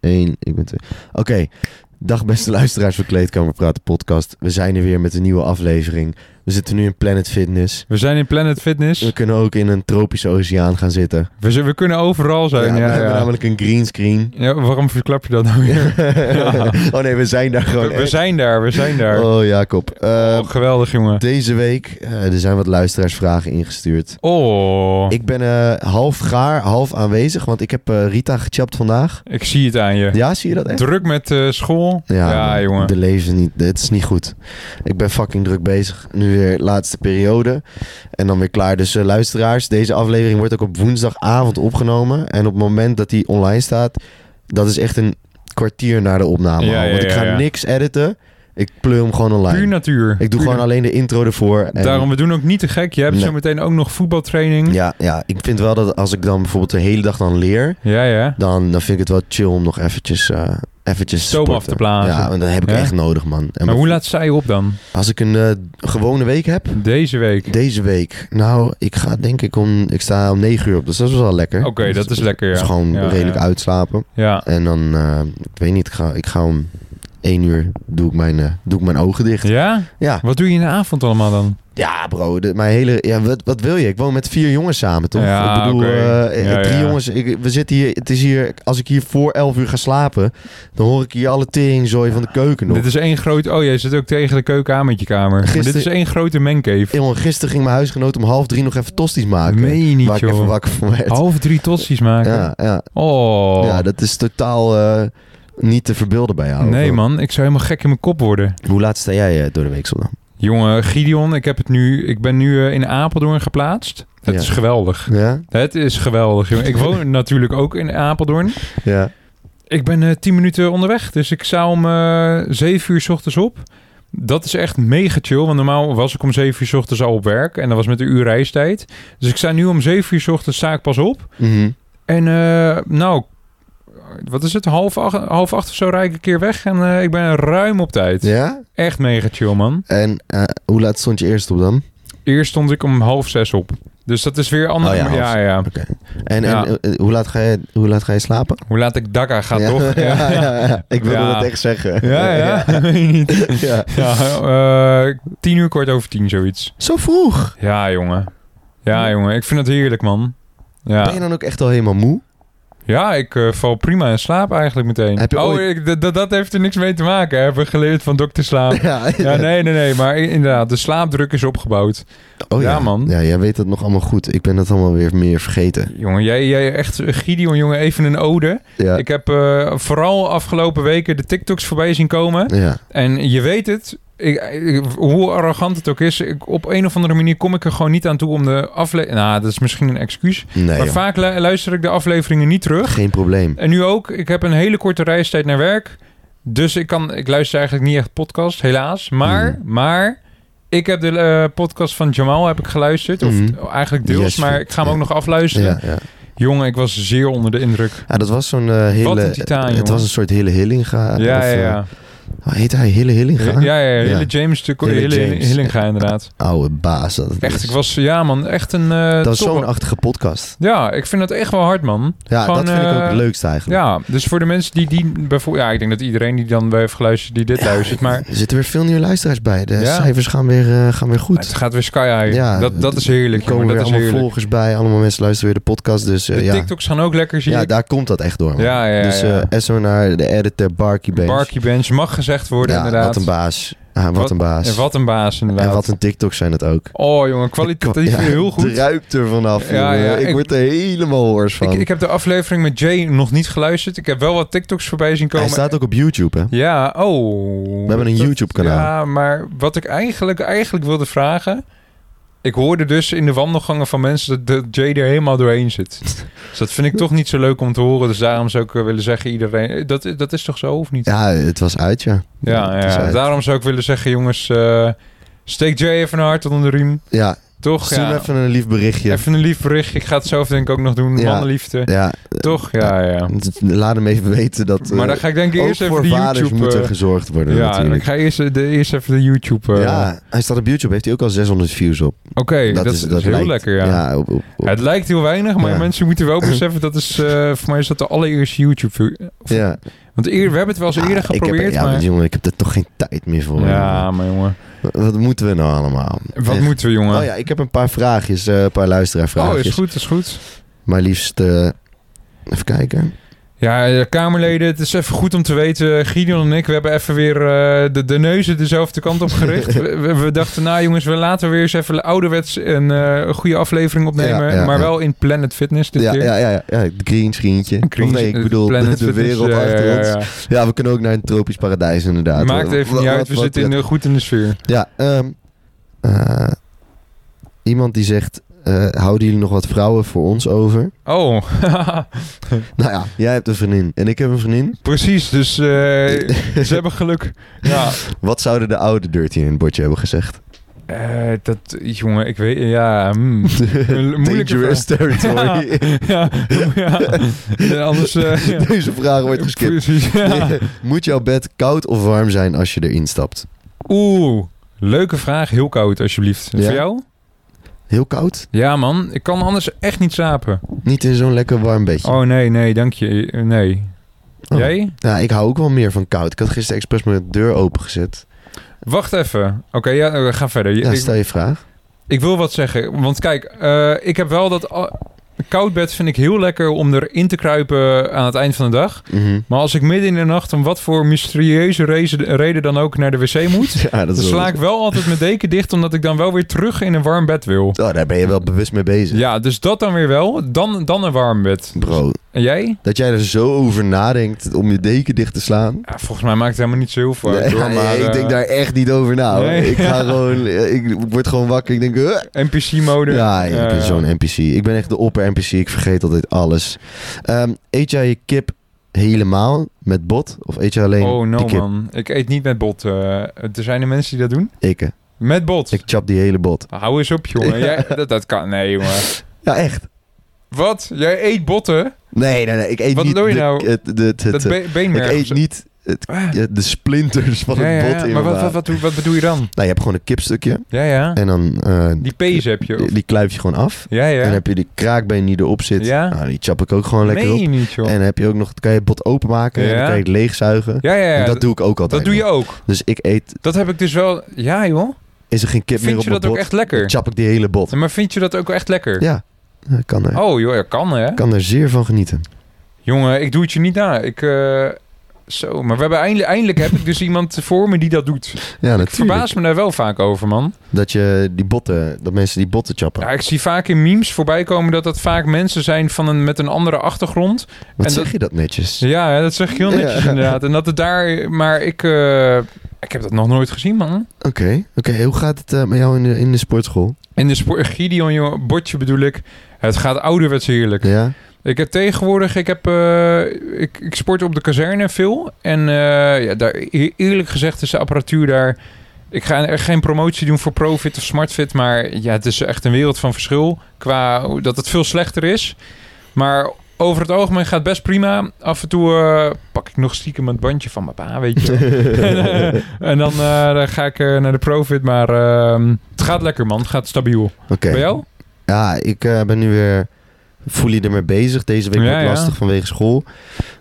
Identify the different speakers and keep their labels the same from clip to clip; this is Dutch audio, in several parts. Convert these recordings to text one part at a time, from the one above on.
Speaker 1: één, ik ben twee. Oké, dag beste luisteraars van Kleedkamer Praten podcast. We zijn er weer met een nieuwe aflevering. We zitten nu in Planet Fitness.
Speaker 2: We zijn in Planet Fitness.
Speaker 1: We kunnen ook in een tropische oceaan gaan zitten.
Speaker 2: We, zijn- we kunnen overal zijn.
Speaker 1: we
Speaker 2: Ja, ja,
Speaker 1: hebben namelijk een greenscreen.
Speaker 2: Ja, waarom verklap je dat nou weer? Ja.
Speaker 1: oh nee, we zijn daar gewoon.
Speaker 2: We, we
Speaker 1: echt.
Speaker 2: zijn daar, we zijn daar.
Speaker 1: Oh Jacob. Eh,
Speaker 2: Oh, geweldig, jongen.
Speaker 1: deze week eh, er zijn wat luisteraarsvragen ingestuurd.
Speaker 2: Oh, ik,
Speaker 1: Ik ben eh, half gaar, half aanwezig, want ik heb eh, Rita gechapt vandaag.
Speaker 2: zie het aan je.
Speaker 1: Ja, zie je dat echt?
Speaker 2: Druk met eh, school. Ja,
Speaker 1: maar
Speaker 2: jongen.
Speaker 1: De leven niet, het is niet goed. Ik ben fucking druk bezig. Nu weer laatste periode. En dan weer klaar. Dus eh, luisteraars, deze aflevering wordt ook op woensdagavond opgenomen. En op het moment dat die online staat, dat is echt een kwartier na de opname.
Speaker 2: Ja,
Speaker 1: al.
Speaker 2: ja,
Speaker 1: Want ik
Speaker 2: ja,
Speaker 1: ga
Speaker 2: ja.
Speaker 1: niks editen. Ik pleur hem gewoon online.
Speaker 2: Puur natuur.
Speaker 1: ik doe
Speaker 2: Puur
Speaker 1: gewoon
Speaker 2: na-
Speaker 1: alleen de intro ervoor. En
Speaker 2: Daarom, we doen ook niet te gek. Je hebt
Speaker 1: Nee.
Speaker 2: zo meteen ook nog voetbaltraining.
Speaker 1: Ja, ja, ik vind wel dat als ik dan bijvoorbeeld de hele dag dan leer...
Speaker 2: ja. ja.
Speaker 1: dan, dan vind ik het wel chill om nog eventjes, eh eventjes te
Speaker 2: Stoom
Speaker 1: sporten.
Speaker 2: af te blazen.
Speaker 1: Ja, want dat heb ik
Speaker 2: Ja?
Speaker 1: echt nodig, man. En
Speaker 2: Maar hoe laat zij op dan?
Speaker 1: Als ik een eh, gewone week heb,
Speaker 2: Deze week.
Speaker 1: deze week, nou, ik ga denk ik om, ik sta om 9 uur op, dus dat is wel lekker.
Speaker 2: Oké, dat is lekker, ja.
Speaker 1: Dus gewoon
Speaker 2: Ja,
Speaker 1: redelijk
Speaker 2: ja.
Speaker 1: uitslapen.
Speaker 2: Ja.
Speaker 1: En dan, eh, ik weet niet, ik ga, ik ga om 1 uur, doe ik mijn, eh, doe ik mijn ogen dicht.
Speaker 2: Ja?
Speaker 1: Ja,
Speaker 2: Wat doe je in de avond allemaal dan?
Speaker 1: ja bro, de- mijn hele, ja, wat, wat wil je? Ik woon met vier jongens samen, toch?
Speaker 2: Ja,
Speaker 1: ik bedoel,
Speaker 2: oké.
Speaker 1: eh,
Speaker 2: Ja,
Speaker 1: drie
Speaker 2: ja.
Speaker 1: jongens, ik, we zitten hier, het is hier, als ik hier voor 11 uur ga slapen, dan hoor ik hier alle teringzooi van de keuken nog.
Speaker 2: Dit is één groot... Oh, jij zit ook tegen de keuken aan met je kamer. Maar dit
Speaker 1: Gisteren-
Speaker 2: is één grote mancave.
Speaker 1: Jongen, gisteren ging mijn huisgenoot om half drie nog even tosties maken.
Speaker 2: Meen je niet,
Speaker 1: waar ik even
Speaker 2: joh.
Speaker 1: wakker van werd.
Speaker 2: Half drie totsies maken.
Speaker 1: Ja, ja.
Speaker 2: Oh.
Speaker 1: ja, dat is totaal eh, niet te verbeelden bij jou.
Speaker 2: nee,
Speaker 1: Of-
Speaker 2: man. Ik zou helemaal gek in mijn kop worden.
Speaker 1: Hoe laat sta jij eh, door de week zondag?
Speaker 2: Jongen, Gideon, ik, heb het nu, ik ben nu eh, in Apeldoorn geplaatst. Het
Speaker 1: Ja.
Speaker 2: is geweldig.
Speaker 1: Ja?
Speaker 2: Het is geweldig, jongen. Ik woon natuurlijk ook in Apeldoorn.
Speaker 1: Ja.
Speaker 2: Ik ben eh, tien minuten onderweg, dus ik sta om eh zeven uur 's ochtends op. Dat is echt mega chill, want normaal was ik om zeven uur 's ochtends al op werk. En dat was met een uur reistijd. Dus ik sta nu om zeven uur 's ochtends sta ik pas op.
Speaker 1: Mhm.
Speaker 2: En eh, nou, wat is het? Half acht, half acht of zo rijd ik een keer weg. En eh, ik ben ruim op tijd.
Speaker 1: Ja?
Speaker 2: Echt mega chill, man.
Speaker 1: En eh, hoe laat stond je eerst op dan?
Speaker 2: Eerst stond ik om half zes op. Dus dat is weer anders.
Speaker 1: Oh ja, half
Speaker 2: ja, ja,
Speaker 1: Oké. En,
Speaker 2: Ja.
Speaker 1: en eh, eh, hoe, laat ga je, hoe laat ga je slapen?
Speaker 2: Hoe laat ik Dakka ga,
Speaker 1: Ja,
Speaker 2: toch?
Speaker 1: Ja,
Speaker 2: Ja, ja.
Speaker 1: ja, ja. Ik wilde
Speaker 2: Ja.
Speaker 1: dat echt zeggen.
Speaker 2: ja, dat weet je niet.
Speaker 1: Ja.
Speaker 2: Ja, eh, tien uur kwart over tien, zoiets.
Speaker 1: Zo vroeg.
Speaker 2: Ja, jongen. Ja, jongen. Ik vind het heerlijk, man.
Speaker 1: Ben je nou-
Speaker 2: Ja,
Speaker 1: dan ook echt al helemaal moe?
Speaker 2: ja ik eh, val prima in slaap eigenlijk meteen.
Speaker 1: Heb je
Speaker 2: oh,
Speaker 1: ooit-
Speaker 2: ik- dat- dat- dat heeft er niks mee te maken. hè. Hebben we geleerd van dokter slaap.
Speaker 1: Ja,
Speaker 2: Ah. Ja, nee, nee, nee. Maar i- inderdaad, de slaapdruk is opgebouwd.
Speaker 1: Oh, ja.
Speaker 2: Ja, man.
Speaker 1: Ja, jij weet dat nog allemaal goed. Ik ben dat allemaal weer meer vergeten.
Speaker 2: Jongen, jij, jij echt, eh, Gideon, jongen, even een ode.
Speaker 1: Ja.
Speaker 2: Ik heb eh, vooral afgelopen weken de TikToks voorbij zien komen.
Speaker 1: ja.
Speaker 2: En je weet het, ik, ik- hoe arrogant het ook is, ik, op een of andere manier kom ik er gewoon niet aan toe om de aflevering... Nou, dat is misschien een excuus.
Speaker 1: Nee,
Speaker 2: maar
Speaker 1: joh.
Speaker 2: vaak lu- luister ik de afleveringen niet terug.
Speaker 1: geen probleem.
Speaker 2: En nu ook, ik heb een hele korte reistijd naar werk. Dus ik, kan, ik luister eigenlijk niet echt podcast, helaas. Maar,
Speaker 1: Mm.
Speaker 2: maar ik heb de eh, podcast van Jamal heb ik geluisterd. Of
Speaker 1: Mhm.
Speaker 2: eigenlijk deels,
Speaker 1: Yes,
Speaker 2: maar ik ga hem
Speaker 1: ja.
Speaker 2: ook nog afluisteren.
Speaker 1: Ja, ja.
Speaker 2: Jongen, ik was zeer onder de indruk.
Speaker 1: Ja, dat was zo'n eh, hele...
Speaker 2: een titaan,
Speaker 1: het
Speaker 2: jongen.
Speaker 1: was een soort hele Hillinga.
Speaker 2: ja,
Speaker 1: of,
Speaker 2: ja,
Speaker 1: eh,
Speaker 2: ja.
Speaker 1: hoe heet hij? Hele Hillinga?
Speaker 2: Ja, ja, ja.
Speaker 1: Ja.
Speaker 2: Hele James, de
Speaker 1: Hele
Speaker 2: hele,
Speaker 1: James.
Speaker 2: Hillinga inderdaad.
Speaker 1: Oude baas. Dat het
Speaker 2: Echt,
Speaker 1: is.
Speaker 2: ik was, ja man, echt een... eh,
Speaker 1: dat was
Speaker 2: top.
Speaker 1: zo'n achtige podcast.
Speaker 2: Ja, ik vind dat echt wel hard, man.
Speaker 1: Ja,
Speaker 2: Gewoon,
Speaker 1: dat vind ik ook
Speaker 2: eh,
Speaker 1: het leukste eigenlijk.
Speaker 2: Ja, dus voor de mensen die die bijvoorbeeld... Ja, ik denk dat iedereen die dan weer heeft geluisterd, die dit luistert. Maar
Speaker 1: Er zitten weer veel nieuwe luisteraars bij. De
Speaker 2: Ja.
Speaker 1: cijfers gaan weer, eh, gaan weer
Speaker 2: Het
Speaker 1: goed.
Speaker 2: gaat weer sky high.
Speaker 1: Ja,
Speaker 2: dat, dat is
Speaker 1: Er
Speaker 2: heerlijk.
Speaker 1: komen
Speaker 2: jongen,
Speaker 1: weer
Speaker 2: dat is
Speaker 1: allemaal
Speaker 2: heerlijk.
Speaker 1: volgers bij. Allemaal mensen luisteren weer de podcast. Dus eh,
Speaker 2: de
Speaker 1: ja,
Speaker 2: TikToks gaan ook lekker, zie
Speaker 1: ja
Speaker 2: ik.
Speaker 1: daar komt dat echt door. Man.
Speaker 2: Ja, ja, ja,
Speaker 1: dus eh,
Speaker 2: ja.
Speaker 1: SO naar de editor Barky Bench.
Speaker 2: Barky Bench mag gezegd worden,
Speaker 1: ja,
Speaker 2: inderdaad.
Speaker 1: wat een baas. Ah, wat,
Speaker 2: Wat-
Speaker 1: een baas.
Speaker 2: En wat een baas, inderdaad.
Speaker 1: en wat een TikTok zijn het ook.
Speaker 2: Oh, jongen, kwalitatief
Speaker 1: Ja,
Speaker 2: heel goed.
Speaker 1: Het ruikt er vanaf.
Speaker 2: Ja,
Speaker 1: jongen.
Speaker 2: ja,
Speaker 1: ik,
Speaker 2: ik-
Speaker 1: word er helemaal hoors van.
Speaker 2: Ik, ik heb de aflevering met Jay nog niet geluisterd. Ik heb wel wat TikToks voorbij zien komen.
Speaker 1: Hij staat ook op YouTube, hè?
Speaker 2: Ja, oh.
Speaker 1: We hebben een
Speaker 2: Dat-
Speaker 1: YouTube-kanaal.
Speaker 2: Ja, maar wat ik eigenlijk, eigenlijk wilde vragen... Ik hoorde dus in de wandelgangen van mensen dat, dat Jay er helemaal doorheen zit. dus dat vind ik toch niet zo leuk om te horen. Dus daarom zou ik eh, willen zeggen, iedereen... Dat, dat is toch zo, of niet?
Speaker 1: Ja, het was uit, ja.
Speaker 2: Ja,
Speaker 1: Het
Speaker 2: ja,
Speaker 1: is uit.
Speaker 2: daarom zou ik willen zeggen, jongens, eh, steek Jay even een hart onder de riem.
Speaker 1: Ja,
Speaker 2: Toch?
Speaker 1: stuur
Speaker 2: Ja.
Speaker 1: even een lief berichtje.
Speaker 2: Even een lief bericht. Ik ga het zelf denk ik ook nog doen.
Speaker 1: Ja.
Speaker 2: Mannenliefde.
Speaker 1: Ja, eh,
Speaker 2: Toch? Ja, ja.
Speaker 1: laat hem even weten dat... eh,
Speaker 2: Maar dan ga ik denk ik
Speaker 1: ook
Speaker 2: eerst even
Speaker 1: voor
Speaker 2: de
Speaker 1: vaders
Speaker 2: YouTube...
Speaker 1: moet er
Speaker 2: eh,
Speaker 1: gezorgd worden,
Speaker 2: ja, ik
Speaker 1: natuurlijk.
Speaker 2: ga eerst, de, eerst even de YouTube... eh,
Speaker 1: ja, hij staat op YouTube. Heeft hij ook al 600 views op.
Speaker 2: dat, is, dat is heel
Speaker 1: lijkt-
Speaker 2: lekker, ja.
Speaker 1: op- op- op-
Speaker 2: Het lijkt heel weinig, maar
Speaker 1: Ja.
Speaker 2: mensen moeten wel beseffen dat is eh, voor mij is dat de allereerste YouTube. Of-
Speaker 1: ja.
Speaker 2: Want eer, we hebben het wel eens
Speaker 1: Ah,
Speaker 2: eerder
Speaker 1: ik heb,
Speaker 2: geprobeerd,
Speaker 1: ja,
Speaker 2: maar
Speaker 1: maar jongen, ik heb er toch geen tijd meer voor.
Speaker 2: ja, maar jongen,
Speaker 1: Wat- Wat moeten we nou allemaal?
Speaker 2: wat
Speaker 1: Echt.
Speaker 2: moeten we, jongen?
Speaker 1: Oh ja, ik heb een paar vraagjes, eh, een paar
Speaker 2: Oh,
Speaker 1: luisteraarvraagjes.
Speaker 2: is goed, is goed.
Speaker 1: Maar liefst, eh, even kijken.
Speaker 2: Ja, eh, Kamerleden, het is even goed om te weten. Gideon en ik, we hebben even weer eh, de, de neuzen dezelfde kant op gericht. we, we- we dachten, nou jongens, we laten weer eens even ouderwets een eh, goede aflevering opnemen.
Speaker 1: Ja, ja,
Speaker 2: maar
Speaker 1: ja.
Speaker 2: wel in Planet Fitness dit
Speaker 1: Ja,
Speaker 2: keer.
Speaker 1: ja, ja, ja, ja, het green screentje. Of
Speaker 2: Green-
Speaker 1: nee, ik
Speaker 2: eh,
Speaker 1: bedoel, de,
Speaker 2: Planet
Speaker 1: de
Speaker 2: Fitness,
Speaker 1: wereld
Speaker 2: ja, ja,
Speaker 1: achter
Speaker 2: ja,
Speaker 1: ons.
Speaker 2: ja.
Speaker 1: Ja, we kunnen ook naar een tropisch paradijs inderdaad.
Speaker 2: Maakt
Speaker 1: Wat-
Speaker 2: even
Speaker 1: wat-
Speaker 2: niet uit,
Speaker 1: wat-
Speaker 2: we
Speaker 1: wat
Speaker 2: zitten in, de- goed in de sfeer.
Speaker 1: Ja, ehm, eh, iemand die zegt, eh, houden jullie nog wat vrouwen voor ons over?
Speaker 2: Oh,
Speaker 1: Nou ja, jij hebt een vriendin en ik heb een vriendin.
Speaker 2: precies. Dus eh, ze hebben geluk. Ja,
Speaker 1: Wat zouden de oude Dirty in het bordje hebben gezegd?
Speaker 2: eh, dat, jongen, ik weet, ja, mm. Een moeilijke
Speaker 1: Dangerous territory.
Speaker 2: ja, ja. Eh, anders, eh, ja.
Speaker 1: Deze vraag wordt geskipt.
Speaker 2: Precies, ja.
Speaker 1: Moet jouw bed koud of warm zijn als je erin stapt?
Speaker 2: Oeh, leuke vraag. Heel koud, alsjeblieft.
Speaker 1: Ja?
Speaker 2: Voor jou?
Speaker 1: Heel koud?
Speaker 2: Ja, man. Ik kan anders echt niet slapen.
Speaker 1: Niet in zo'n lekker warm bedje.
Speaker 2: Oh, nee, nee, dank je. Eh, Nee.
Speaker 1: Oh.
Speaker 2: Jij?
Speaker 1: Ja, ik hou ook wel meer van koud. Ik had gisteren expres mijn deur opengezet.
Speaker 2: Wacht even. Oké, ja, eh, ga verder. Je-
Speaker 1: Ja,
Speaker 2: ik,
Speaker 1: stel je vraag.
Speaker 2: ik wil wat zeggen. Want kijk, eh, ik heb wel dat... al- Koud bed vind ik heel lekker om erin te kruipen aan het eind van de dag.
Speaker 1: Mhm.
Speaker 2: Maar als ik midden in de nacht om wat voor mysterieuze reze- reden dan ook naar de wc moet...
Speaker 1: Ja, dat
Speaker 2: Dan
Speaker 1: is wel...
Speaker 2: sla ik wel altijd mijn deken dicht, omdat ik dan wel weer terug in een warm bed wil.
Speaker 1: Oh, daar ben je wel bewust mee bezig.
Speaker 2: Ja, dus dat dan weer wel. Dan, dan een warm bed.
Speaker 1: Bro,
Speaker 2: En jij?
Speaker 1: dat jij er zo over nadenkt om je deken dicht te slaan.
Speaker 2: Ja, volgens mij maakt het helemaal niet zo heel veel uit.
Speaker 1: Nee,
Speaker 2: hoor, maar,
Speaker 1: ik
Speaker 2: eh,
Speaker 1: denk daar echt niet over na. hoor.
Speaker 2: Nee.
Speaker 1: Ik, ga gewoon, ik word gewoon wakker. Ik denk... "Huh?"
Speaker 2: NPC-mode.
Speaker 1: Ja, ja, ik ben
Speaker 2: Eh,
Speaker 1: zo'n NPC. Ik ben echt de opper NPC. Ik vergeet altijd alles. Ehm, eet jij je kip helemaal met bot? Of eet je alleen
Speaker 2: Oh,
Speaker 1: die
Speaker 2: no
Speaker 1: kip?
Speaker 2: man. Ik eet niet met bot. eh. er zijn er mensen die dat doen.
Speaker 1: Ik, eh,
Speaker 2: Met bot.
Speaker 1: ik chap die hele bot.
Speaker 2: Hou eens op, jongen.
Speaker 1: Ja.
Speaker 2: Jij, dat, dat kan... Nee, jongen.
Speaker 1: Ja, echt.
Speaker 2: Wat? Jij eet botten?
Speaker 1: Nee, nee, nee. Ik eet
Speaker 2: Wat
Speaker 1: niet
Speaker 2: doe je
Speaker 1: de-
Speaker 2: nou?
Speaker 1: het- de- het- het-
Speaker 2: Dat be
Speaker 1: eh, ik
Speaker 2: beenmerg.
Speaker 1: eet niet het,
Speaker 2: Ah.
Speaker 1: de splinters van
Speaker 2: Ja, ja,
Speaker 1: het bot
Speaker 2: ja,
Speaker 1: in
Speaker 2: Maar
Speaker 1: mijn
Speaker 2: wat,
Speaker 1: maag.
Speaker 2: wat, wat, doe- wat bedoel je dan?
Speaker 1: Nou, je hebt gewoon een kipstukje.
Speaker 2: Ja, ja.
Speaker 1: En dan eh,
Speaker 2: Die pees heb je. of-
Speaker 1: die, die kluif je gewoon af.
Speaker 2: Ja,
Speaker 1: En dan
Speaker 2: ja.
Speaker 1: heb je die kraakbeen die erop zit.
Speaker 2: Ja.
Speaker 1: Nou, die chap ik ook gewoon lekker
Speaker 2: Meen
Speaker 1: op.
Speaker 2: je niet, joh.
Speaker 1: En dan heb je ook nog, kan je het bot openmaken en
Speaker 2: Ja.
Speaker 1: dan kan je het leegzuigen.
Speaker 2: Ja, ja, ja.
Speaker 1: en dat doe ik ook altijd.
Speaker 2: Dat doe je
Speaker 1: nog.
Speaker 2: ook.
Speaker 1: Dus ik eet,
Speaker 2: Dat heb ik dus wel. Ja, joh.
Speaker 1: is er geen kip meer
Speaker 2: Vind
Speaker 1: op
Speaker 2: je
Speaker 1: mijn
Speaker 2: dat ook
Speaker 1: bot,
Speaker 2: echt lekker?
Speaker 1: dan chap ik die hele bot.
Speaker 2: Ja, Maar vind je dat ook echt lekker?
Speaker 1: Ja, ik kan er,
Speaker 2: Oh, joh, ja, kan hè?
Speaker 1: kan er zeer van genieten.
Speaker 2: Jongen, ik doe het je niet na. Ik. eh, Zo, maar we hebben eindelijk, eindelijk heb ik dus iemand voor me die dat doet.
Speaker 1: Ja,
Speaker 2: Ik
Speaker 1: natuurlijk.
Speaker 2: verbaas me daar wel vaak over, man.
Speaker 1: Dat, je die botten, dat mensen die botten chappen.
Speaker 2: Ja, ik zie vaak in memes voorbij komen dat dat vaak mensen zijn van een, met een andere achtergrond.
Speaker 1: Wat
Speaker 2: en
Speaker 1: zeg
Speaker 2: dat-
Speaker 1: je dat netjes?
Speaker 2: Ja, hè, dat zeg ik heel netjes
Speaker 1: Ja.
Speaker 2: inderdaad. En dat het daar... Maar ik, eh, ik heb dat nog nooit gezien, man.
Speaker 1: Oké, oké. hoe gaat het eh, met jou in de, in de sportschool?
Speaker 2: In de sport... Gideon, joh, bordje bedoel ik. Het gaat ouderwets heerlijk.
Speaker 1: Ja?
Speaker 2: Ik heb tegenwoordig, ik, heb, eh, ik, ik sport op de kazerne veel. En eh, ja, daar, eer- eerlijk gezegd is de apparatuur daar... Ik ga er geen promotie doen voor Profit of Smartfit. Maar ja, het is echt een wereld van verschil. Qua hoe- dat het veel slechter is. Maar over het algemeen gaat het best prima. Af en toe eh, pak ik nog stiekem het bandje van mijn pa, weet je wel. en, eh, en dan, eh, dan ga ik eh, naar de Profit. Maar ehm, het gaat lekker, man. Het gaat stabiel.
Speaker 1: Oké.
Speaker 2: Bij jou?
Speaker 1: Ja, ik eh, ben nu weer fully ermee bezig. Deze week
Speaker 2: Ja,
Speaker 1: wordt
Speaker 2: ja.
Speaker 1: lastig vanwege school.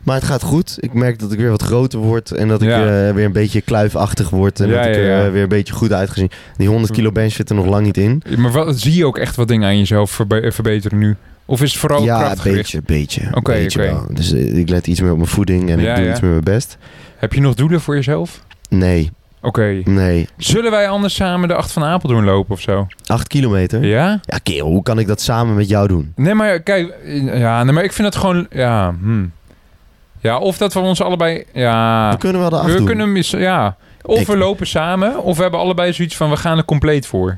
Speaker 1: Maar het gaat goed. Ik merk dat ik weer wat groter word. En dat ik
Speaker 2: Ja.
Speaker 1: eh, weer een beetje kluifachtig word. En
Speaker 2: Ja,
Speaker 1: dat ik
Speaker 2: ja,
Speaker 1: er
Speaker 2: ja. Hm.
Speaker 1: eh, weer een beetje goed uitgezien. Die 100 kilo bench zit er nog lang niet in.
Speaker 2: Maar wat, zie je ook echt wat dingen aan jezelf verbe- verbeteren nu? Of is het vooral
Speaker 1: ja, een
Speaker 2: krachtgericht?
Speaker 1: beetje, beetje.
Speaker 2: Oké,
Speaker 1: beetje
Speaker 2: oké.
Speaker 1: wel. Dus eh, ik let iets meer op mijn voeding en
Speaker 2: Ja,
Speaker 1: ik doe
Speaker 2: ja.
Speaker 1: iets meer mijn best.
Speaker 2: Heb je nog doelen voor jezelf?
Speaker 1: Nee,
Speaker 2: Oké.
Speaker 1: Mm. nee.
Speaker 2: Zullen wij anders samen de Acht van Apeldoorn lopen of zo?
Speaker 1: 8 kilometer? Ja,
Speaker 2: Ja?
Speaker 1: kerel, hoe kan ik dat samen met jou doen?
Speaker 2: Nee, maar kijk... Ja, nee, maar ik vind dat gewoon... Ja, hm. Ja, of dat we ons allebei... Ja...
Speaker 1: We kunnen wel de 8
Speaker 2: We
Speaker 1: doen.
Speaker 2: kunnen... mis- Ja. Of
Speaker 1: Ik-
Speaker 2: we lopen samen, of we hebben allebei zoiets van... We gaan er compleet voor.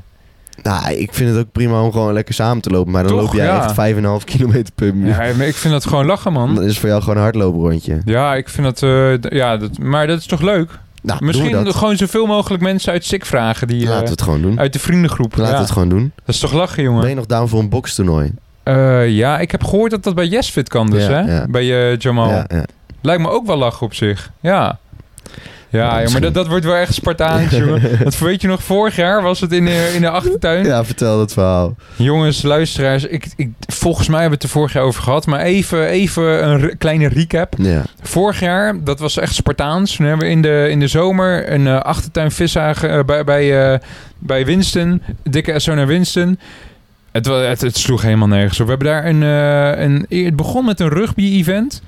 Speaker 1: Nou, ik vind het ook prima om gewoon lekker samen te lopen. Maar dan
Speaker 2: Toch,
Speaker 1: loop jij
Speaker 2: ja.
Speaker 1: echt 5,5 kilometer per minuut.
Speaker 2: Ja, maar ik vind dat gewoon lachen, man.
Speaker 1: Dan is het voor jou gewoon een hardlooprondje.
Speaker 2: Ja, ik vind dat... eh, d- ja, dat, maar dat is toch leuk?
Speaker 1: Nou,
Speaker 2: Misschien
Speaker 1: doe dat.
Speaker 2: gewoon zoveel mogelijk mensen uit SICK vragen die... eh,
Speaker 1: Laten we het gewoon doen.
Speaker 2: Uit de vriendengroep.
Speaker 1: Laten
Speaker 2: ja.
Speaker 1: we Hm? het gewoon doen.
Speaker 2: Dat is toch lachen,
Speaker 1: Ben
Speaker 2: jongen?
Speaker 1: je nog down voor een bokstoernooi?
Speaker 2: Eh, ja, ik heb gehoord dat dat bij YesFit kan dus,
Speaker 1: Ja,
Speaker 2: hè?
Speaker 1: ja.
Speaker 2: Bij eh, Jamal.
Speaker 1: Ja, ja.
Speaker 2: Lijkt me ook wel lachen op zich. Ja.
Speaker 1: Ja,
Speaker 2: Ja, ja, maar
Speaker 1: misschien.
Speaker 2: dat, dat wordt wel echt Spartaans, jongen. Want weet je nog, vorig jaar was het in de, in de achtertuin.
Speaker 1: Ja, vertel dat verhaal.
Speaker 2: Jongens, luisteraars, ik, ik, volgens mij hebben we het er vorig jaar over gehad. Maar even, even een re- kleine recap.
Speaker 1: Ja.
Speaker 2: Vorig jaar, dat was echt Spartaans. Toen hebben we in de, in de zomer een eh, achtertuin viszagen eh, bij, bij, eh, bij Winston. Dikke SO naar Winston. Het, wa- het, het sloeg helemaal nergens op. We hebben daar een, eh, een... Het begon met een rugby-event.